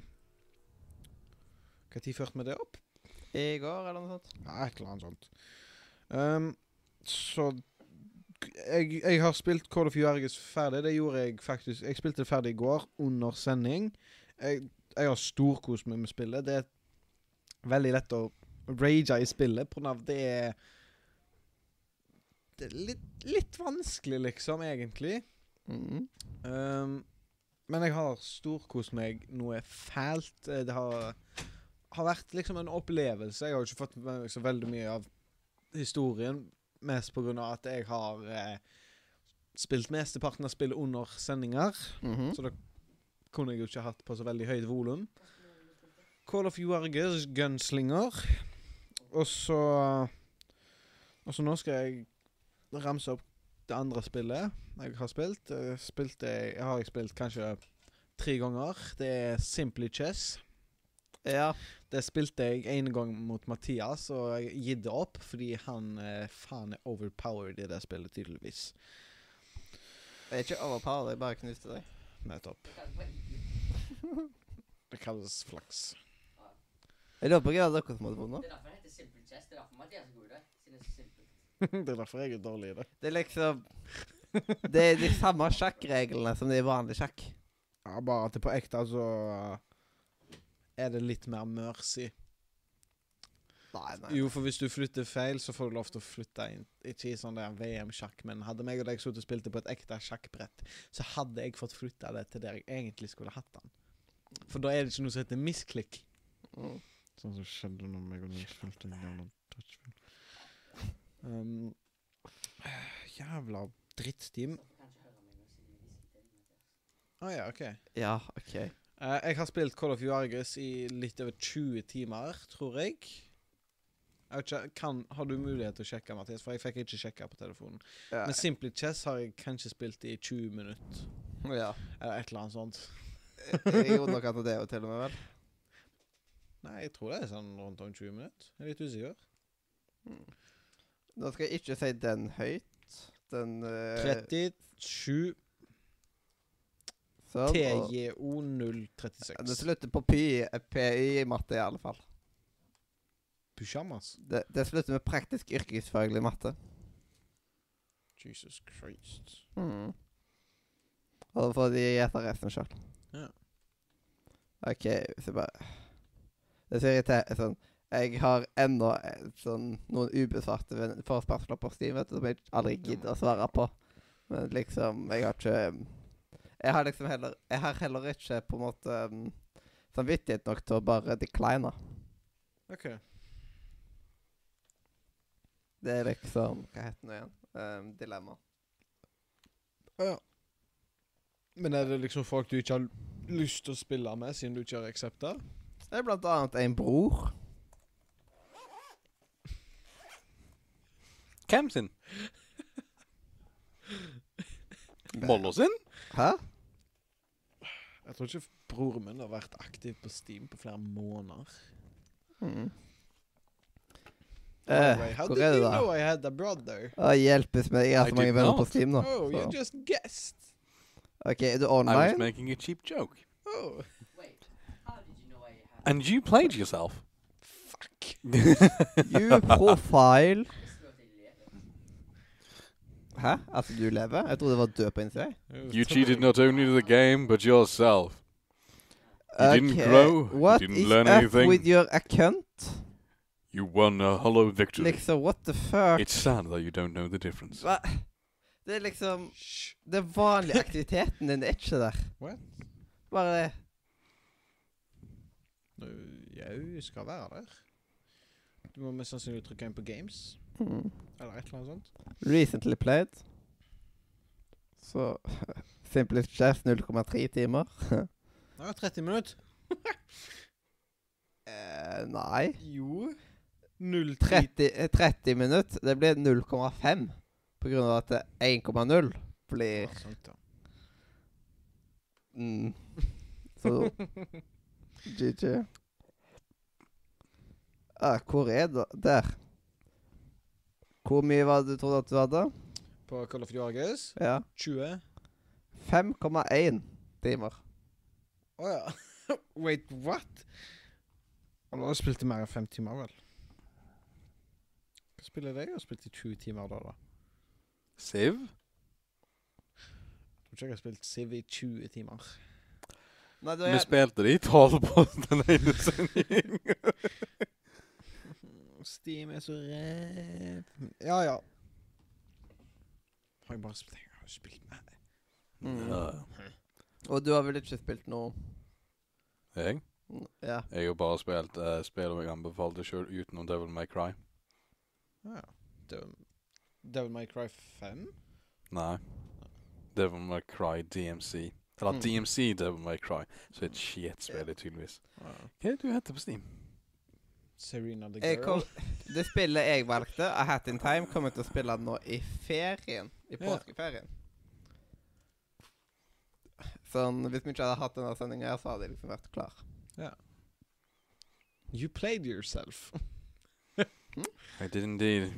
Speaker 2: Hva tid førte vi det opp?
Speaker 1: I går, eller noe sånt.
Speaker 2: Ja, et eller annet sånt. Ehm, så g- jeg, jeg har spilt Call of Juarez ferdig. Det gjorde jeg faktisk. Jeg spilte det ferdig i går, under sending. Jeg, jeg har storkost meg med spillet. Det er veldig lett å rage i spillet, på grunn av det er Det er litt, litt vanskelig, liksom, egentlig.
Speaker 1: Mhm.
Speaker 2: Ehm, men jeg har storkost meg noe fælt. Eh, Det har, har vært liksom en opplevelse. Jeg har jo ikke fått med meg så veldig mye av historien, mest pga. at jeg har eh, spilt mesteparten av spillet under sendinger.
Speaker 1: Mhm.
Speaker 2: Så da kunne jeg jo ikke hatt på så veldig høyt volum. Call of Juarges Gunslinger. Og så Og så nå skal jeg ramse opp det andre spillet jeg har spilt. Det spilte jeg, jeg har jeg spilt kanskje tre ganger. Det er Simply Chess.
Speaker 1: Ja.
Speaker 2: Det spilte jeg en gang mot Mathias, og jeg gitt det opp fordi han eh, faen er overpowered i det spillet, tydeligvis.
Speaker 1: Jeg er ikke overpowered, jeg bare knuste deg.
Speaker 2: Nettopp.
Speaker 5: Det var ikke
Speaker 2: Det kalles flaks.
Speaker 1: Jeg lurer på hva det er dere som hadde vunnet.
Speaker 5: Det er derfor det heter Simple Chest. Det er derfor Mathias er god i det. Siden det er så simpelt.
Speaker 2: det er derfor jeg er dårlig i det.
Speaker 1: Det er liksom Det er de samme sjakkreglene som det er i vanlig sjakk.
Speaker 2: Ja, bare at det på ekte, så er det litt mer mercy.
Speaker 1: Nei, nei.
Speaker 2: Jo, for hvis du flytter feil, så får du lov til å flytte inn. Ikke i sånn der VM-sjakk, men hadde meg og deg sittet og spilt det på et ekte sjakkbrett, så hadde jeg fått flytta det til der jeg egentlig skulle hatt den. For da er det ikke noe som heter misklikk.
Speaker 1: Mm.
Speaker 2: Sånn som skjedde når meg og Nils spilte en jævla touchfilm. Um, jævla drittsteam.
Speaker 5: Dere kan ikke høre meg nå siden vi diskuterer det.
Speaker 2: Å ja, OK.
Speaker 1: Ja, OK.
Speaker 2: Eh, jeg har spilt Call of Juarez i litt over 20 timer, tror jeg. Jeg vet ikke, kan, Har du mulighet til å sjekke, Mathias? For jeg fikk ikke sjekka på telefonen.
Speaker 1: Ja.
Speaker 2: Men Simply Chess har jeg kanskje spilt i 20 minutter,
Speaker 1: ja.
Speaker 2: eller et eller annet sånt.
Speaker 1: Jeg gjorde nok at det er jo til og med, vel.
Speaker 2: Nei, jeg tror det er sånn rundt om 20 minutter. Jeg er litt usikker.
Speaker 1: Nå skal jeg ikke si den høyt. Den eh,
Speaker 2: 37
Speaker 1: sånn, og-
Speaker 2: TJO
Speaker 1: Det
Speaker 2: 036.
Speaker 1: slutter på py, py i matte, i alle fall.
Speaker 2: Pysjamas?
Speaker 1: Det, det slutter med praktisk yrkesfaglig matte.
Speaker 2: Jesus Christ.
Speaker 1: Mm. Og da får de gjette resten sjøl.
Speaker 2: Ja.
Speaker 1: OK, så bare Det er så irriterende sånn Jeg har ennå eh, sånn, noen ubesvarte ven- forespørsler på Steam vet du, som jeg aldri gidder å svare på. Men liksom Jeg har ikke Jeg har liksom heller Jeg har heller ikke på en måte mm, samvittighet nok til å bare decline.
Speaker 2: OK.
Speaker 1: Det er liksom Hva heter det igjen? Um, dilemma.
Speaker 2: Men er det liksom folk du ikke har lyst til å spille med, siden du ikke har aksepta?
Speaker 1: Det er blant annet en bror.
Speaker 3: Hvem sin? Mollo sin?
Speaker 1: Hæ?
Speaker 2: Jeg tror ikke broren min har vært aktiv på Steam på flere måneder.
Speaker 1: Mm.
Speaker 2: By the
Speaker 1: Eh,
Speaker 2: way, How
Speaker 1: hvor
Speaker 2: did
Speaker 1: er det
Speaker 2: you
Speaker 1: da?
Speaker 2: know I had a brother?
Speaker 1: Å, hjelpes meg. Jeg har
Speaker 3: I
Speaker 1: så mange
Speaker 3: did
Speaker 1: venner på
Speaker 3: not.
Speaker 1: Steam nå.
Speaker 2: Oh, you
Speaker 1: så.
Speaker 2: just guessed.
Speaker 1: OK, er du
Speaker 3: I was
Speaker 1: online?
Speaker 3: making a cheap joke.
Speaker 2: Oh,
Speaker 5: Wait, how did you know I had
Speaker 3: And you played yourself.
Speaker 2: fuck.
Speaker 1: You profile.
Speaker 5: Visste du at jeg lever?
Speaker 1: Hæ? Altså, du lever? Jeg trodde du var død på innsida.
Speaker 3: You cheated not only the game, but yourself. You didn't
Speaker 1: Ok,
Speaker 3: grow, you
Speaker 1: What
Speaker 3: didn't
Speaker 1: is
Speaker 3: learn
Speaker 1: up
Speaker 3: anything.
Speaker 1: with your account?
Speaker 3: You won a hollow victory.
Speaker 1: Liksom, what the fuck?
Speaker 3: It's sad that you don't know the difference.
Speaker 1: Hva? Det er liksom
Speaker 2: Hysj.
Speaker 1: Den vanlige aktiviteten din er ikke der.
Speaker 2: What?
Speaker 1: Bare det.
Speaker 2: Nå, Jau, skal være der. Du må mest sannsynlig trykke inn på games,
Speaker 1: Hmm.
Speaker 2: eller et eller annet sånt.
Speaker 1: Recently played. Så Simplest Chef 0,3 timer.
Speaker 2: Ja, 30 minutter.
Speaker 1: Eh, nei.
Speaker 2: Jo. 0,30.
Speaker 1: 30, eh, 30 minutter, det blir 0,5. På grunn av at det 1,0 blir
Speaker 2: Ja, sant, ja.
Speaker 1: mm, Så GG. Ah, hvor er det? Der. Hvor mye var det du trodde at du hadde?
Speaker 2: På Call of Duty Argus.
Speaker 1: Ja.
Speaker 2: 20.
Speaker 1: 5,1 timer.
Speaker 2: Å ja. Wait, what? Han har spilt i mer enn fem timer, vel? Hva spiller det? Jeg har spilt i 20 timer da, da.
Speaker 3: Siv?
Speaker 2: Jeg tror ikke jeg har spilt Civ i 20 timer.
Speaker 1: Nei, da
Speaker 3: Vi
Speaker 1: er,
Speaker 3: spilte det i tolv på den ene sendingen.
Speaker 2: Steam er så ræv. Ja, ja. Har jeg bare spilt Jeg har jo spilt med
Speaker 1: Mm.
Speaker 3: Ja.
Speaker 1: og du har vel ikke spilt noe
Speaker 3: Jeg?
Speaker 1: Mm, Ja.
Speaker 3: Jeg har bare spilt uh, spill jeg anbefalte sjøl utenom Devil May Cry.
Speaker 2: ja. Devil- Devil May Cry 5?
Speaker 3: Nei. Devil May Cry DMC. Eller
Speaker 1: Mm.
Speaker 3: DMC Devil May Cry. Så et skitspill, tydeligvis. Hva er det du heter på Steam?
Speaker 2: Serena the
Speaker 1: Jeg
Speaker 2: Girl?
Speaker 1: kom, det spillet jeg valgte, A Hat in Time, kommer jeg til å spille nå i ferien. I
Speaker 2: Ja.
Speaker 1: påskeferien. Sånn, Hvis vi ikke hadde hatt denne sendinga, så hadde jeg liksom vært klar.
Speaker 2: You played yourself.
Speaker 3: I did indeed.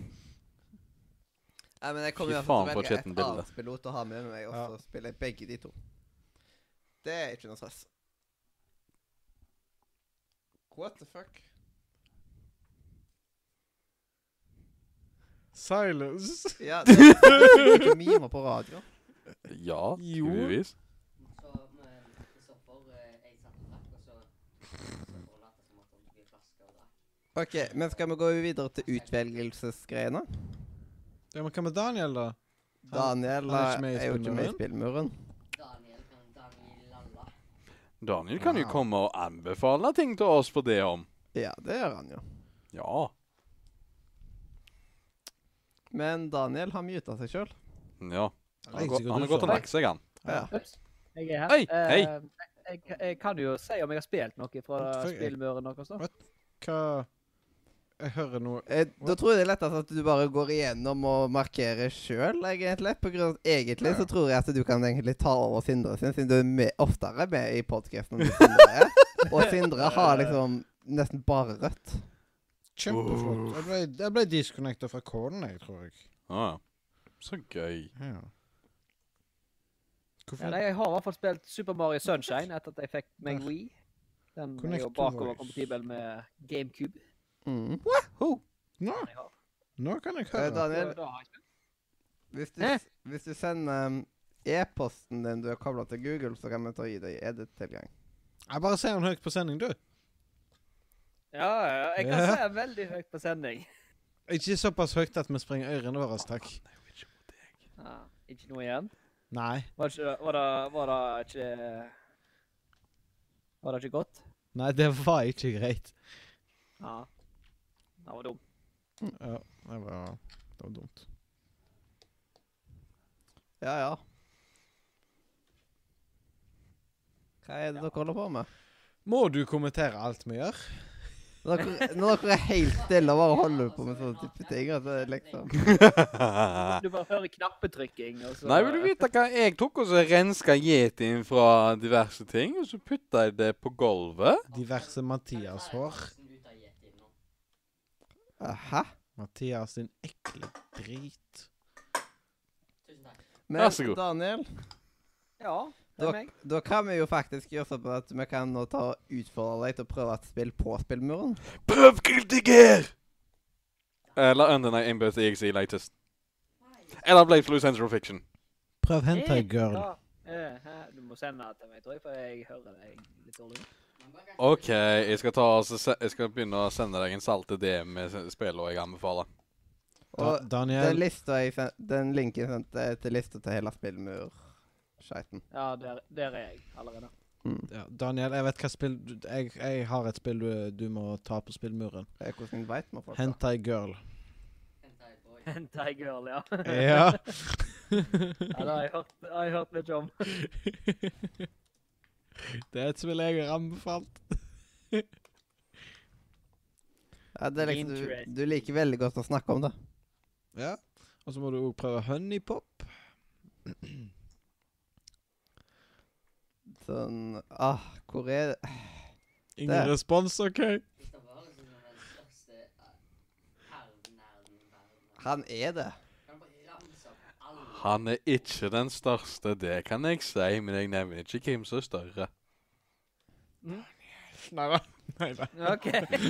Speaker 1: Nei, men jeg kommer
Speaker 3: Fy
Speaker 1: i hvert fall
Speaker 3: faen,
Speaker 1: til å
Speaker 3: for
Speaker 1: velge
Speaker 3: et
Speaker 1: et
Speaker 3: bilde.
Speaker 1: annet pilot å ha med meg, og
Speaker 2: Ja.
Speaker 1: så spiller jeg begge de to. Det er ikke noe stress. What the fuck?
Speaker 2: Silence.
Speaker 1: Ja, det er ikke mimer på radio.
Speaker 3: Ja,
Speaker 2: Jo.
Speaker 3: tydeligvis.
Speaker 5: Så men, Kristoffer, eh, jeg satt og drakk, og så Kristoffer lot som at han tok en flaske og drakk.
Speaker 1: OK, men skal vi gå videre til utvelgelsesgreiene?
Speaker 2: Ja, men hva med Daniel, da? Han-
Speaker 1: Daniel
Speaker 2: han er
Speaker 1: eh,
Speaker 2: ikke med i
Speaker 1: er jo ikke med i spillmuren.
Speaker 5: Daniel kan Daniel lalla.
Speaker 3: Daniel kan jo
Speaker 2: Wow.
Speaker 3: komme og anbefale ting til oss på det om.
Speaker 1: Ja, det gjør han jo.
Speaker 3: Ja.
Speaker 1: Men Daniel har muta seg sjøl.
Speaker 3: Ja. Han har
Speaker 2: Jeg er
Speaker 3: gått-
Speaker 2: sikkert
Speaker 3: han har
Speaker 2: du
Speaker 3: gått og
Speaker 2: sa.
Speaker 3: lagt seg, han.
Speaker 1: Ja.
Speaker 4: Jeg er her.
Speaker 3: Hei,
Speaker 4: Eh,
Speaker 3: hei.
Speaker 4: Jeg, jeg kan jo si om jeg har spilt noe fra
Speaker 2: What the fuck?
Speaker 4: spillmuren deres, da.
Speaker 2: Hva Jeg hører noe
Speaker 1: Eh, da tror jeg det er lettest at du bare går igjennom og markerer sjøl, egentlig. På grunn av at egentlig så tror jeg at du kan egentlig ta over Sindre sin, siden du er med, oftere med i podkasten enn Sindre er. Og Sindre har liksom nesten bare rødt.
Speaker 2: Kjempeflott. Jeg ble, jeg ble disconnecta fra kålen, jeg, tror jeg.
Speaker 3: Ah, så gøy.
Speaker 2: Ja.
Speaker 4: Ja,
Speaker 2: Hvorfor
Speaker 4: nei, jeg har i hvert fall spilt Super Mario Sunshine etter at jeg fikk meg Wii. Den er jo
Speaker 2: Connect to
Speaker 4: bakover
Speaker 2: voice.
Speaker 4: kompatibel med GameCube.
Speaker 1: Mm.
Speaker 2: Nå,
Speaker 4: enn jeg har.
Speaker 2: nå kan jeg
Speaker 1: Eh,
Speaker 2: høre.
Speaker 1: Daniel,
Speaker 4: Så da har jeg ikke-
Speaker 1: hvis du, hvis du sender um, e-posten din du er kobla til Google, så kan vi ta i deg edit-tilgang.
Speaker 2: Jeg bare ser han høyt på sending, du.
Speaker 4: Ja, ja, jeg kan
Speaker 2: Ja.
Speaker 4: se veldig høyt på sending.
Speaker 2: Ikke såpass høyt at vi sprenger ørene våre, takk.
Speaker 4: Ja, ikke noe igjen?
Speaker 2: Nei.
Speaker 4: Var det, ikke, var, det, var det ikke Var det ikke godt?
Speaker 2: Nei, det var ikke greit.
Speaker 4: Ja. Det var dumt.
Speaker 2: Ja, det var, det var dumt.
Speaker 1: Ja, ja. Hva er det dere holder på med?
Speaker 2: Må du kommentere alt vi gjør?
Speaker 1: Dere, når dere er helt stille og bare holder på med sånne type ting at det er liksom.
Speaker 4: Du bare hører knappetrykking, og så
Speaker 3: Nei, vil du vite hva jeg tok? Og så renska yetien fra diverse ting, og så putta jeg det på gulvet.
Speaker 2: Diverse Mathias-hår.
Speaker 1: Hæ?
Speaker 2: Mathias, din ekle drit.
Speaker 5: Tusen takk.
Speaker 1: Men
Speaker 3: Vær så god.
Speaker 1: Daniel,
Speaker 4: Ja, det
Speaker 1: da,
Speaker 4: er meg.
Speaker 1: da kan vi jo faktisk gjøre sånn at vi kan nå ta og utfordre deg til å prøve et spill på spillmuren.
Speaker 3: Prøvkritiker! Eller Undernight Inbirth EXE Latest. Eller Blade Blue Central Fiction.
Speaker 2: Prøv hentai, girl.
Speaker 4: Ja, eh, hæ, Du må sende det til meg, tror jeg, for jeg hører deg litt dårlig.
Speaker 3: OK, jeg skal, ta, og så se- jeg skal begynne å sende deg en salte det med s- spillene jeg anbefaler.
Speaker 2: Da,
Speaker 1: Og den,
Speaker 2: Daniel,
Speaker 1: lista jeg sen, den linken jeg sendte til lista til hele spillmur-skeiten.
Speaker 4: Ja, der, der er jeg allerede.
Speaker 2: ja, Daniel, jeg vet hva spill du- Jeg, jeg har et spill du, du må ta på spillmuren.
Speaker 1: Eh, Hvordan veit man folk det?
Speaker 2: Hentai girl.
Speaker 5: Hentai boy.
Speaker 4: Hentai girl, ja.
Speaker 2: Ja.
Speaker 4: ja det har jeg hørt, det har jeg hørt mye om.
Speaker 2: Det er et spill jeg har anbefalt.
Speaker 1: Ja, det er liksom, du,
Speaker 4: Interesting.
Speaker 1: du liker veldig godt å snakke om det.
Speaker 2: Ja. Og så må du òg prøve honeypop.
Speaker 1: Sånn ah, Hvor er det
Speaker 2: Ingen
Speaker 1: Det.
Speaker 2: respons, OK?
Speaker 5: Kristoffer har liksom den største herden-nerden i verden.
Speaker 1: Han er det.
Speaker 5: Kan du bare ramse opp alle?
Speaker 3: Han er ikke den største, det kan jeg si, men jeg nevner ikke hvem som er større.
Speaker 2: Nei da. Nei da.
Speaker 4: OK.
Speaker 3: Nei.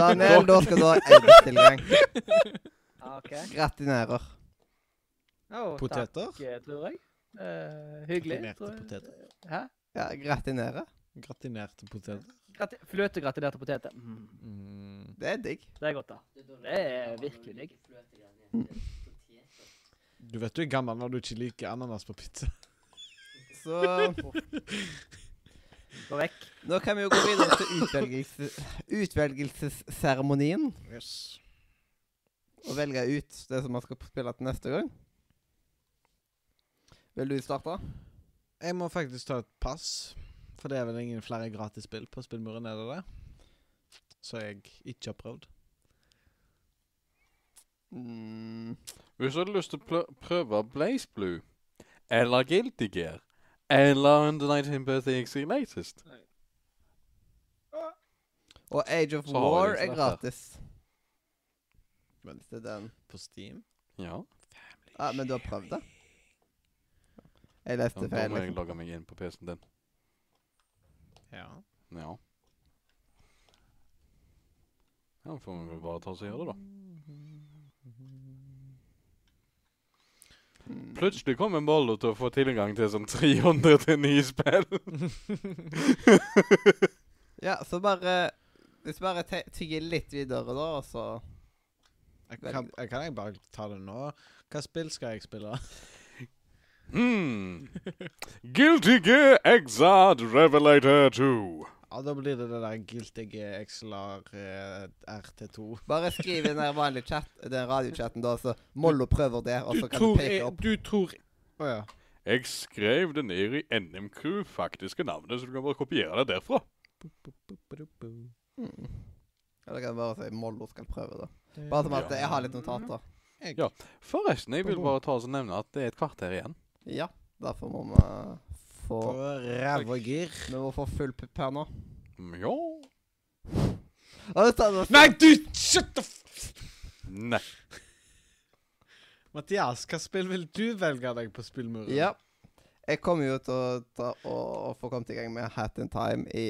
Speaker 1: Daniel, da skal du ha edit-tilgang.
Speaker 4: ok.
Speaker 1: Gratinerer.
Speaker 4: Oh,
Speaker 2: Poteter?
Speaker 4: Takk, eh, tror jeg. Eh, hyggelig. tror
Speaker 2: Gratinerte
Speaker 4: jeg.
Speaker 2: poteter.
Speaker 4: Hæ?
Speaker 1: Ja, gratinere.
Speaker 2: Gratinerte poteter.
Speaker 4: Grati Fløtegratinerte poteter. Mm.
Speaker 2: Mm.
Speaker 1: Det er digg.
Speaker 4: Det er godt, da.
Speaker 5: Det er
Speaker 4: Det er virkelig digg.
Speaker 2: Du vet du er gammel når du ikke liker ananas på pizza.
Speaker 1: Så
Speaker 4: Gå vekk.
Speaker 1: nå kan vi jo gå videre til utvelgelses, utvelgelsesseremonien.
Speaker 2: Yes.
Speaker 1: Og velge ut det som man skal spille til neste gang. Vil du starte?
Speaker 2: Jeg må faktisk ta et pass, for det er vel ingen flere gratisspill på spillmuren, er det det? Så jeg ikke har prøvd.
Speaker 1: Mm.
Speaker 3: Hvis du hadde lyst til å plø- prøve Blaze Blue, eller Guilty Gear, eller Under Night in Birthday Exit Latest
Speaker 1: Og Age of
Speaker 3: Så har vi
Speaker 1: War
Speaker 3: liksom
Speaker 1: er
Speaker 3: dette.
Speaker 1: gratis. Hvis det er den.
Speaker 2: På Steam?
Speaker 3: Ja,
Speaker 1: Ah, men du har prøvd det? Jeg leste
Speaker 3: men da
Speaker 1: feil.
Speaker 3: må jeg
Speaker 1: Liksom.
Speaker 3: logge meg inn på PC-en din.
Speaker 2: Ja.
Speaker 3: Ja. Ja, får vi vel bare ta oss og gjøre det, da. Plutselig kom en bolle til å få tilgang til sånn 300 til nye spill.
Speaker 1: Ja, så bare Hvis du bare te- tygger litt videre, da, og så
Speaker 2: Jeg kan, jeg kan jeg bare ta det nå? Hva spill skal jeg spille?
Speaker 3: Hmm. Guilty Gear Exod Revelator 2.
Speaker 2: Ja, Da blir det det der Guilty Gear XLR eh, RT2.
Speaker 1: Bare skriv inn den vanlige chat, den radiochatten, da, så Mollo prøver det, og så Altså, kan du peke opp.
Speaker 2: Du tror Å ja.
Speaker 3: Jeg skrev det ned i NM Crew faktiske navnet, så du kan bare kopiere det derfra.
Speaker 1: Mm. Eller kan du bare si Mollo skal prøve, da. Bare som at jeg har litt notater.
Speaker 3: Ja. Forresten, jeg vil bare ta og nevne at det er et kvarter igjen.
Speaker 1: Ja, derfor må vi få
Speaker 2: På ræva gir.
Speaker 1: Vi må få full pupp her nå.
Speaker 3: Mm, Ja.
Speaker 1: Ja, det står-
Speaker 2: Nei, du! Shut the f...
Speaker 3: Nei.
Speaker 2: Mathias, hva spill vil du velge deg på spillmuren?
Speaker 1: Ja. Jeg kommer jo til å ta og, og få kommet i gang med Hat in Time i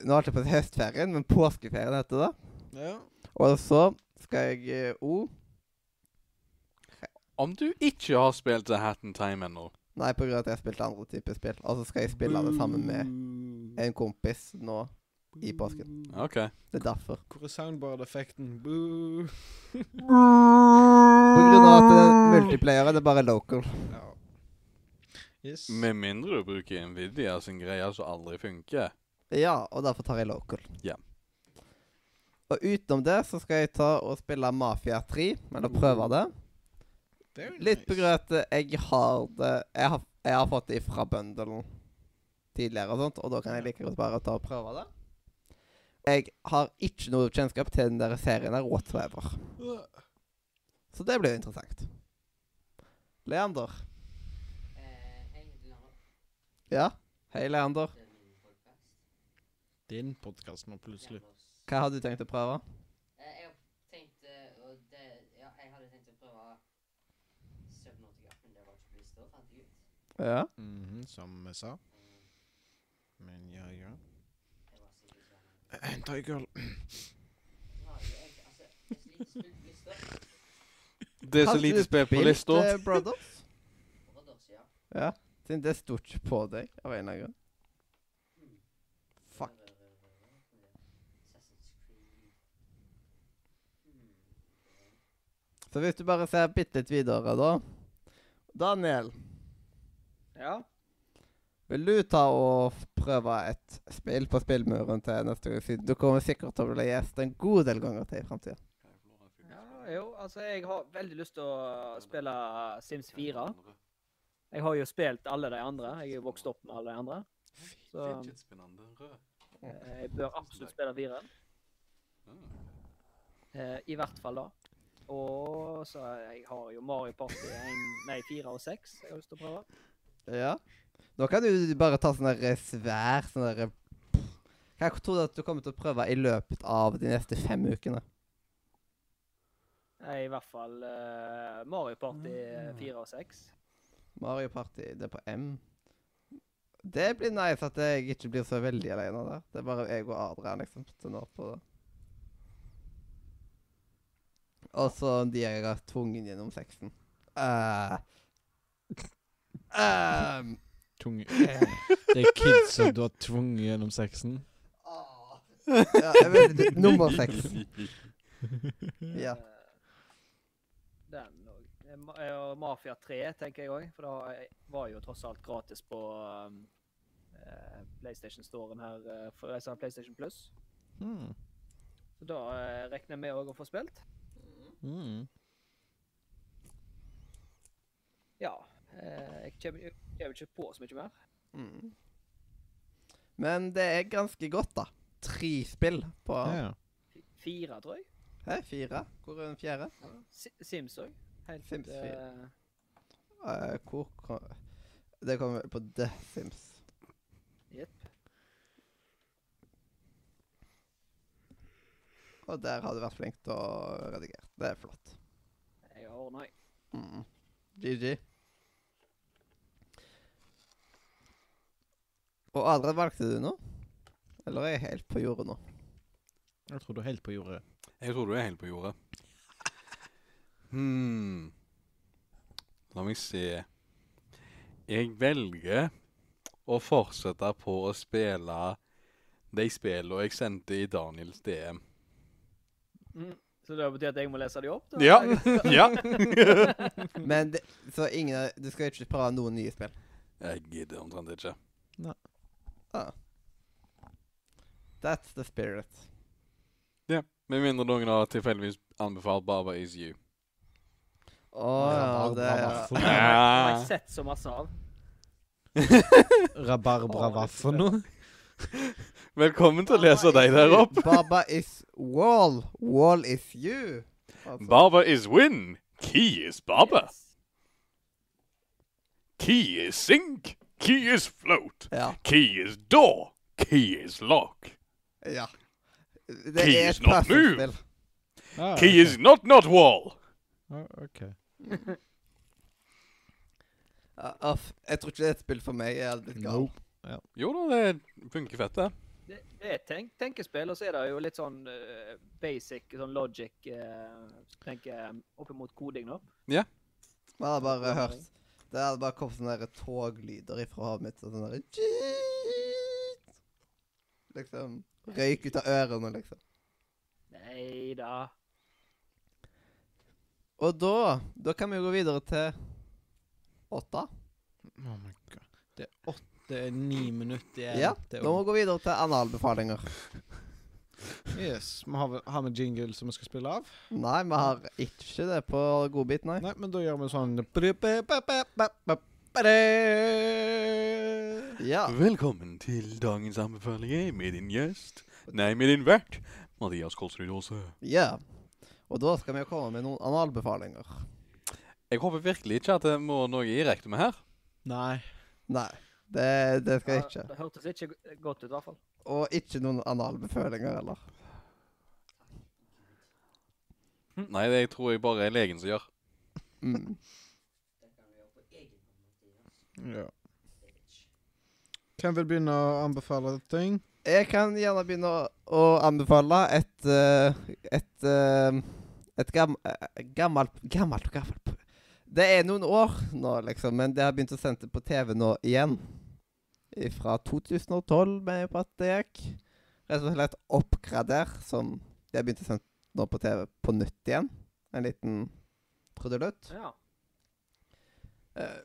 Speaker 1: Nå holdt jeg på å si høstferien, men påskeferien heter det.
Speaker 2: Ja.
Speaker 1: Og så skal jeg eh, O
Speaker 3: Om du ikke har spilt The Hat in Time ennå
Speaker 1: Nei, på grunn av at jeg spilte andre typer spill. Og så skal jeg spille det sammen med en kompis nå. i påsken.
Speaker 3: OK.
Speaker 1: Det er derfor.
Speaker 2: Hvor er soundboard-effekten? Boo.
Speaker 1: På grunn av at det er multiplayer, det er bare local.
Speaker 2: Ja. Yes.
Speaker 3: Med mindre du bruker Nvidia sin greie som aldri funker.
Speaker 1: Ja, og derfor tar jeg local.
Speaker 3: Ja.
Speaker 1: Og utenom det så skal jeg ta og spille Mafia 3, eller prøve det.
Speaker 2: Very
Speaker 1: Litt på
Speaker 2: nice.
Speaker 1: grunn av at jeg har det Jeg har, jeg har fått det fra bundlen tidligere og sånt, og da kan jeg like godt bare ta og prøve det. Jeg har ikke noe kjennskap til den der serien der whatsoever. Så det blir jo interessant. Leander.
Speaker 5: Eh, jeg heter Leonard.
Speaker 1: Ja? Hei, Leander.
Speaker 5: Det er min podcast.
Speaker 2: Din podkast nå, plutselig.
Speaker 5: Leanders.
Speaker 1: Hva har du tenkt å prøve?
Speaker 5: Eh, jeg tenkte og det, Ja, jeg hadde tenkt å prøve Subnautica, men det var ikke på lista, fant jeg ut.
Speaker 1: Ja.
Speaker 2: Mhm, som vi sa.
Speaker 5: Eh,
Speaker 2: Men ja, ja.
Speaker 5: jeg var sikkert ikke sånn.
Speaker 2: Tiger.
Speaker 5: Nå har jeg egentlig- altså, det er så lite
Speaker 1: Hadde du
Speaker 3: Det er så lite spill på
Speaker 5: spill på lista.
Speaker 1: spilt,
Speaker 3: lista.
Speaker 1: eh, Brothers?
Speaker 5: For et år siden.
Speaker 1: Ja. Siden det sto ikke på deg, av en eller annen grunn. Fuck.
Speaker 5: Assassin's Creed. Hmm.
Speaker 1: Så hvis du bare ser bitte litt videre, da Daniel,
Speaker 4: Ja.
Speaker 1: vil du ta og f- prøve et spill på spillmuren til neste gang? Siden du kommer sikkert til å bli gjest en god del ganger til i framtida.
Speaker 4: ja. Jo, altså, jeg har veldig lyst til å spille Sims 4. Jeg har jo spilt alle de andre. Jeg er jo vokst opp med alle de andre. Så eh, jeg bør absolutt spille fireren. Eh, I hvert fall da. Og så jeg har jo Mario Party 1, nei, 4 og 6 jeg har lyst til å prøve.
Speaker 1: Ja. Da kan du bare ta sånn der svær sånn der Hva tror du at du kommer til å prøve i løpet av de neste fem ukene?
Speaker 4: Nei, I hvert fall eh, Mario Party
Speaker 1: Ah.
Speaker 4: 4 og 6.
Speaker 1: Mario Party, det er på M. Det blir nice at jeg ikke blir så veldig alene der. Det er bare jeg og Adrian liksom som når på det. Og så de jeg har tvungen gjennom sexen. Eh. Ehm.
Speaker 2: Tunge. Det er kids som du har tvunget gjennom sexen.
Speaker 1: ja, jeg vet, ikke. nummer seks. Ja.
Speaker 4: Eh, Den og eh, Ma- eh, og Mafia 3, tenker jeg òg. For det har- var jo tross alt gratis på um, eh, PlayStation-storen her eh, for de som har PlayStation Plus.
Speaker 2: Mm.
Speaker 4: Så da eh, regner jeg med òg å få spilt.
Speaker 2: Mm.
Speaker 4: Ja. eh, Jeg kommer jo- kommer ikke på så mye mer.
Speaker 1: Mm. Men det er ganske godt, da. Tre spill på
Speaker 2: Ja.
Speaker 4: Fi- Fire, tror jeg.
Speaker 1: Hæ, fire. Hvor er den fjerde?
Speaker 4: Si- Sims òg. Helt
Speaker 1: Sims fire.
Speaker 4: eh,
Speaker 1: Eh, hvor kom Det kommer på The Sims.
Speaker 4: Jepp.
Speaker 1: Og der har du vært flink til å redigere. Det er flott.
Speaker 4: Jeg har ordna, jeg.
Speaker 1: Mm. GG. Og Adrian, valgte du noe? Eller er jeg helt på jordet nå?
Speaker 2: Jeg tror du er helt på jordet.
Speaker 3: Jeg tror du er helt på jordet. Hmm. La meg se. Jeg velger å fortsette på å spille de spillene jeg sendte i Daniels DM.
Speaker 4: Så det betyr at jeg må lese de opp? da?
Speaker 3: Ja. ja.
Speaker 1: Men det, så ingen av- Du skal ikke prøve noen nye spill?
Speaker 3: Jeg gidder omtrent ikke.
Speaker 1: That's the spirit.
Speaker 3: Med mindre noen har tilfeldigvis anbefalt Baba Is You.
Speaker 1: Å ja, det er
Speaker 4: Det
Speaker 2: Rabarbra-vaffel.
Speaker 4: har jeg
Speaker 3: Ah.
Speaker 4: sett så masse av.
Speaker 2: Rabarbra-vaffel nå?
Speaker 3: Velkommen til å lese deg der opp.
Speaker 1: Baba is wall. Wall is you. Altså.
Speaker 3: Baba is win. Key is Baba.
Speaker 4: Yes.
Speaker 3: Key is sink. Key is float.
Speaker 1: Ja.
Speaker 3: Key is door. Key is lock.
Speaker 1: ja. Det
Speaker 3: Key
Speaker 1: er
Speaker 3: is
Speaker 1: et
Speaker 3: not move.
Speaker 1: puslespill.
Speaker 2: Ah,
Speaker 3: Key is not not wall.
Speaker 2: Ah, ok.
Speaker 1: Ja, aff, jeg tror ikke det er et spill for meg. Jeg hadde blitt gal.
Speaker 2: Nope.
Speaker 3: Jo da, det funker fett, det.
Speaker 4: Det, det Det er et tenk tenkespill, og så er det jo litt sånn eh, basic sånn logic uh, tenker jeg, opp imot koding nå.
Speaker 1: Man hadde bare hørt Det hadde bare kommet sånne der toglyder ifra hodet mitt. og Sånn der «Tjiiit». Liksom Røyk ut av ørene, liksom.
Speaker 4: Nei da.
Speaker 1: Og da Da kan vi jo gå videre til åtta.
Speaker 2: Oh my god. Det er åtte, det er ni minutter igjen.
Speaker 1: Ja, Da
Speaker 2: det er
Speaker 1: må vi gå videre til analbefalinger.
Speaker 2: Yes, vi har, vel- har vi jingle som vi skal spille av?
Speaker 1: Nei, vi har ikke det på godbit, nei.
Speaker 2: Nei, men da gjør vi sånn
Speaker 1: Ja.
Speaker 3: Velkommen til dagens anbefalinger med din gjest Nei, med din vert, Mathias Kolsrud Aase.
Speaker 1: ja. Og da skal vi jo komme med noen analbefalinger.
Speaker 3: Jeg håper virkelig ikke at jeg må noe i rekte med her.
Speaker 2: Nei.
Speaker 1: Nei, det, det skal jeg ikke.
Speaker 4: Det hørtes ikke go- godt ut, i hvert fall.
Speaker 1: Og ikke noen analbefalinger heller.
Speaker 3: Nei, det tror jeg bare er legen som gjør.
Speaker 1: Mm.
Speaker 5: Det kan du gjøre på egen hånd. Mathias.
Speaker 2: Ja. Hvem vil begynne å anbefale ting?
Speaker 1: Jeg kan gjerne begynne å, å anbefale et eh, Et, eh, et gam, eh, gammelt Gammelt gammelt Det er noen år nå, liksom, men det har begynt å sende på TV nå igjen. Fra 2012, mener jeg på at det gikk. Rett og slett oppgrader, som de har begynt å sende nå på TV på nytt igjen. En liten trudelutt.
Speaker 4: Ja.
Speaker 1: Eh,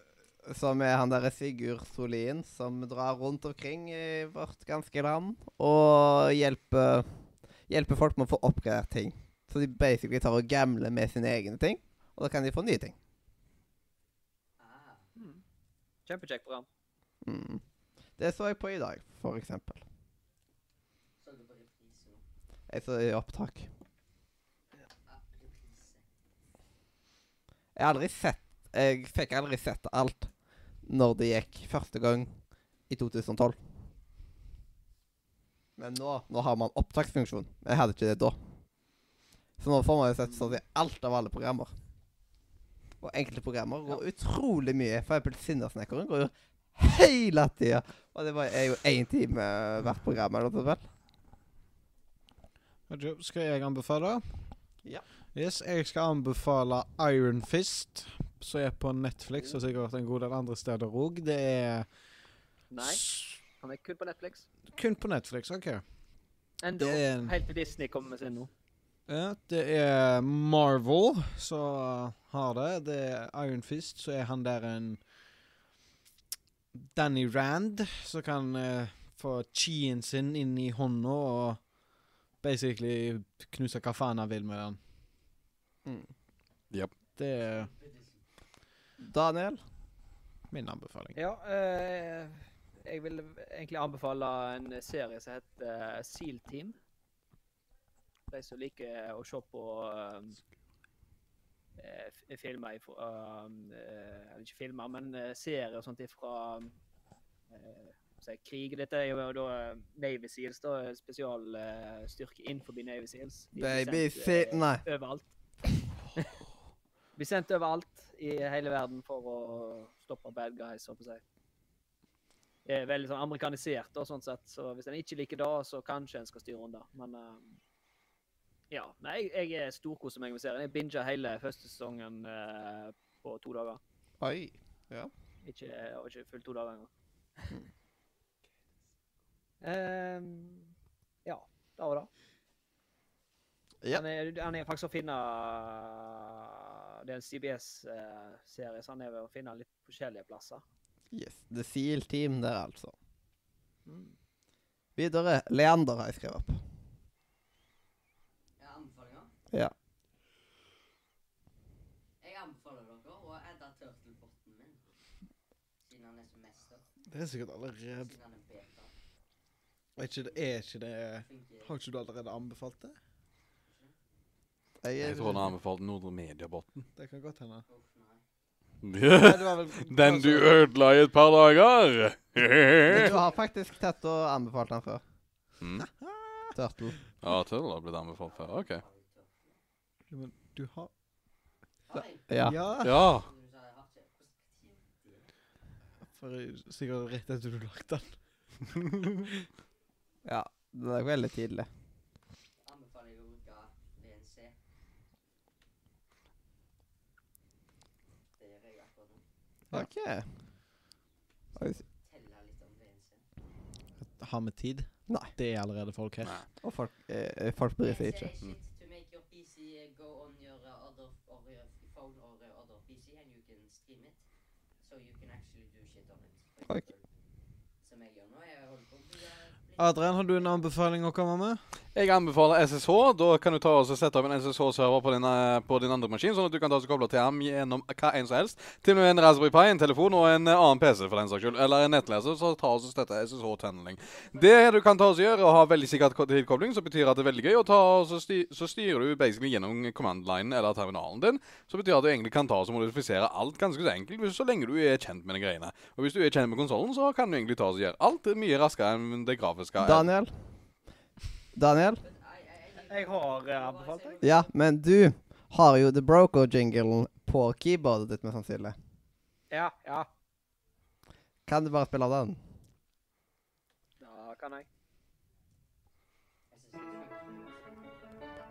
Speaker 1: Som er han derre Sigurd Solien, som drar rundt omkring i vårt ganske land og hjelper, hjelper folk med å få oppgradert ting. Så de basically tar og gambler med sine egne ting, og da kan de få nye ting.
Speaker 5: Ah,
Speaker 4: Mm. Kjempekjekt program.
Speaker 1: Mm. Det så jeg på i dag, for eksempel.
Speaker 5: så du på reprise nå?
Speaker 1: Jeg så i opptak.
Speaker 5: Ah, reprise.
Speaker 1: Jeg har aldri sett Jeg fikk aldri sett alt når det gikk første gang i 2012. Men nå, nå har man opptaksfunksjon. Jeg hadde ikke det da. Så nå får man jo sett sånn i alt av alle programmer. Og enkelte programmer går utrolig mye. For eksempel Sinnersnekkeren går jo hele tida. Og det var- er jo én time hvert program. eller noe sånt vel?
Speaker 2: Vet du, Skal jeg anbefale?
Speaker 1: Ja.
Speaker 2: Yes, jeg skal anbefale Iron Fist, som er på Netflix og sikkert en god del andre steder òg. Det er
Speaker 4: Nei,
Speaker 2: s-
Speaker 4: han er kun på Netflix.
Speaker 2: kun på Netflix. OK.
Speaker 4: Enda
Speaker 2: Det er en-
Speaker 4: helt til Disney kommer med sin nå.
Speaker 2: Ja, det er Marvel som har det. Det er Iron Fist, så er han der en Danny Rand som kan eh, få chien sin inn i hånda og basically knuse hva faen han vil med den.
Speaker 1: Mm.
Speaker 3: Japp.
Speaker 2: Det er
Speaker 1: Daniel?
Speaker 2: min anbefaling.
Speaker 4: Ja, eh, jeg vil egentlig anbefale en serie som heter eh, Seal Team. De som liker å se på um, eh, f- filmer ifra eh, Eller ikke filmer, men eh, serier og sånt ifra um, eh, si, krig. Dette er jo da eh, Navy Seals, da, en spesialstyrke innenfor Navy Seals. De blir
Speaker 1: Baby
Speaker 4: sendt,
Speaker 1: si...
Speaker 4: eh,
Speaker 1: Nei.
Speaker 4: overalt. Blir sendt overalt i hele verden for å stoppe bad guys, holdt på å si. Det er veldig sånn amerikanisert, og sånn sett, så hvis en ikke liker det, så kanskje en skal styre unna. Men eh, ja. Nei, jeg, jeg er storkoser meg med serien. Jeg binga hele første sesongen eh, på to dager.
Speaker 1: Oi.
Speaker 4: Ikke, og ikke fullt to dager engang. Ehm, ja, det var det.
Speaker 1: Ja.
Speaker 4: Han, er, han er faktisk å finne eh, Det er en CBS-serie, eh, så han er vel å finne litt forskjellige plasser.
Speaker 1: Yes. The Seal Team der, altså. Mm. Videre. Leander har jeg skrevet opp.
Speaker 5: Ja, anbefalinger?
Speaker 1: Ja.
Speaker 5: Jeg anbefaler dere å edde turtlebotten min. Siden han er som mester.
Speaker 2: Det er sikkert allerede
Speaker 5: Siden han er beta.
Speaker 2: Er ikke det, er ikke det
Speaker 5: Funker
Speaker 2: Har ikke du allerede anbefalt det?
Speaker 3: Jeg tror han har anbefalt Nordre Mediabotn.
Speaker 2: Det kan godt hende.
Speaker 5: Uff, nei.
Speaker 2: Nei, det var vel altså,
Speaker 3: Den du ødela i et par dager!
Speaker 1: Men du har faktisk tatt og anbefalt den før.
Speaker 3: Mm.
Speaker 1: Turtle.
Speaker 3: Ja, Tødel har blitt anbefalt før. OK.
Speaker 2: Ja, men du har
Speaker 5: Hei,
Speaker 1: Ja.
Speaker 2: Ja.
Speaker 3: Ja.
Speaker 5: du sa jeg har ikke. Hvordan-
Speaker 2: For sikkert rett etter du lagt den.
Speaker 1: ja. Det er veldig tidlig.
Speaker 5: Anbefaler jeg å bruke VNC. Det gjør jeg akkurat nå.
Speaker 2: Ja.
Speaker 1: OK. Oi, s-
Speaker 5: Telle litt om VNC.
Speaker 2: Har vi tid?
Speaker 1: Nei.
Speaker 2: Det er allerede folk her.
Speaker 1: Og folk, eh, folk bryr seg ikke.
Speaker 5: VNC is shit to make your PC go on your uh, other or your phone or your other PC and you can stream it. So you can actually do shit on it. For
Speaker 1: Ok.
Speaker 5: example, Som jeg gjør nå. Jeg holder på å bli uh, litt-
Speaker 2: Adrian, har du en anbefaling å komme med?
Speaker 3: Jeg anbefaler SSH. Da kan du ta og så sette opp en SSH-server på, din, eh, på din andre maskin, sånn at du kan ta og så koble til ham gjennom hva enn som helst. Til og med en Raspberry Pi, en telefon og en eh, annen PC, for den saks skyld. Eller en nettleser, så ta og så støtte SSH-tunneling. Det du kan ta og så gjøre, og ha veldig sikker ko- tilkobling, som betyr at det er veldig gøy, og ta og så, sty så styrer du basically gjennom command-linen eller terminalen din. Så betyr at du egentlig kan ta og så modifisere alt ganske så enkelt, hvis- så lenge du er kjent med de greiene. Og hvis du er kjent med konsollen, så kan du egentlig ta og så gjøre alt mye raskere enn det grafiske.
Speaker 1: Daniel? Daniel?
Speaker 4: Jeg har eh, anbefalt deg.
Speaker 1: Ja, men du har jo The Broker-jinglen på keyboardet ditt, mest sannsynlig.
Speaker 4: Ja, ja.
Speaker 1: Kan du bare spille den?
Speaker 4: Da kan jeg.
Speaker 5: Jeg synes det er kult.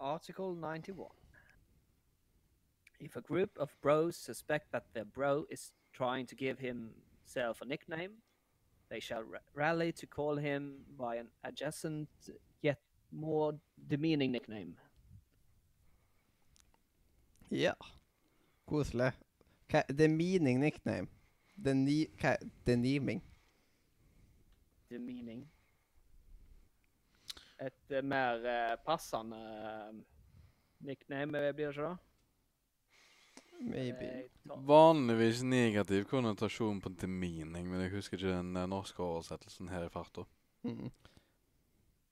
Speaker 4: Article 91. If a group of bros suspect that their bro is trying to give himself a nickname, they shall ra- rally to call him by an adjacent yet more demeaning nickname.
Speaker 1: Ja. Koselig. Hva, det er meaning nickname. Det er ni... Hva, det er niming.
Speaker 4: Demeaning. Et eh, mer eh, passende eh, nickname eh, blir det Eh, ikke da?
Speaker 1: Maybe.
Speaker 4: Jeg tar-
Speaker 3: Vanligvis negativ konnotasjon på demeaning, men jeg husker ikke den eh, norske oversettelsen her i farta.
Speaker 1: Mm.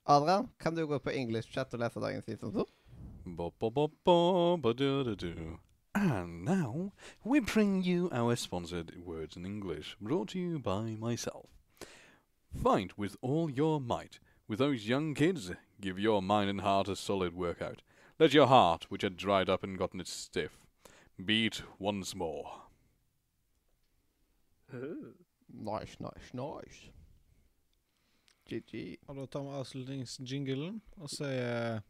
Speaker 1: Adrian, kan du gå på English chat og lese dagens season 2?
Speaker 3: Ba, ba, ba, ba, ba, du, du, du. And now we bring you our sponsored words in English, brought to you by myself. Fight with all your might. With those young kids, give your mind and heart a solid workout. Let your heart, which had dried up and gotten its stiff, beat once more.
Speaker 1: Nice, nice, nice. GG.
Speaker 2: Og da tar vi avslutningsjinglen og sier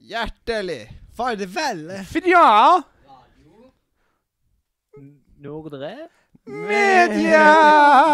Speaker 1: Hjertelig!
Speaker 2: Farvel!
Speaker 3: Fidja!
Speaker 5: Radio.
Speaker 4: Nordre?
Speaker 1: Media!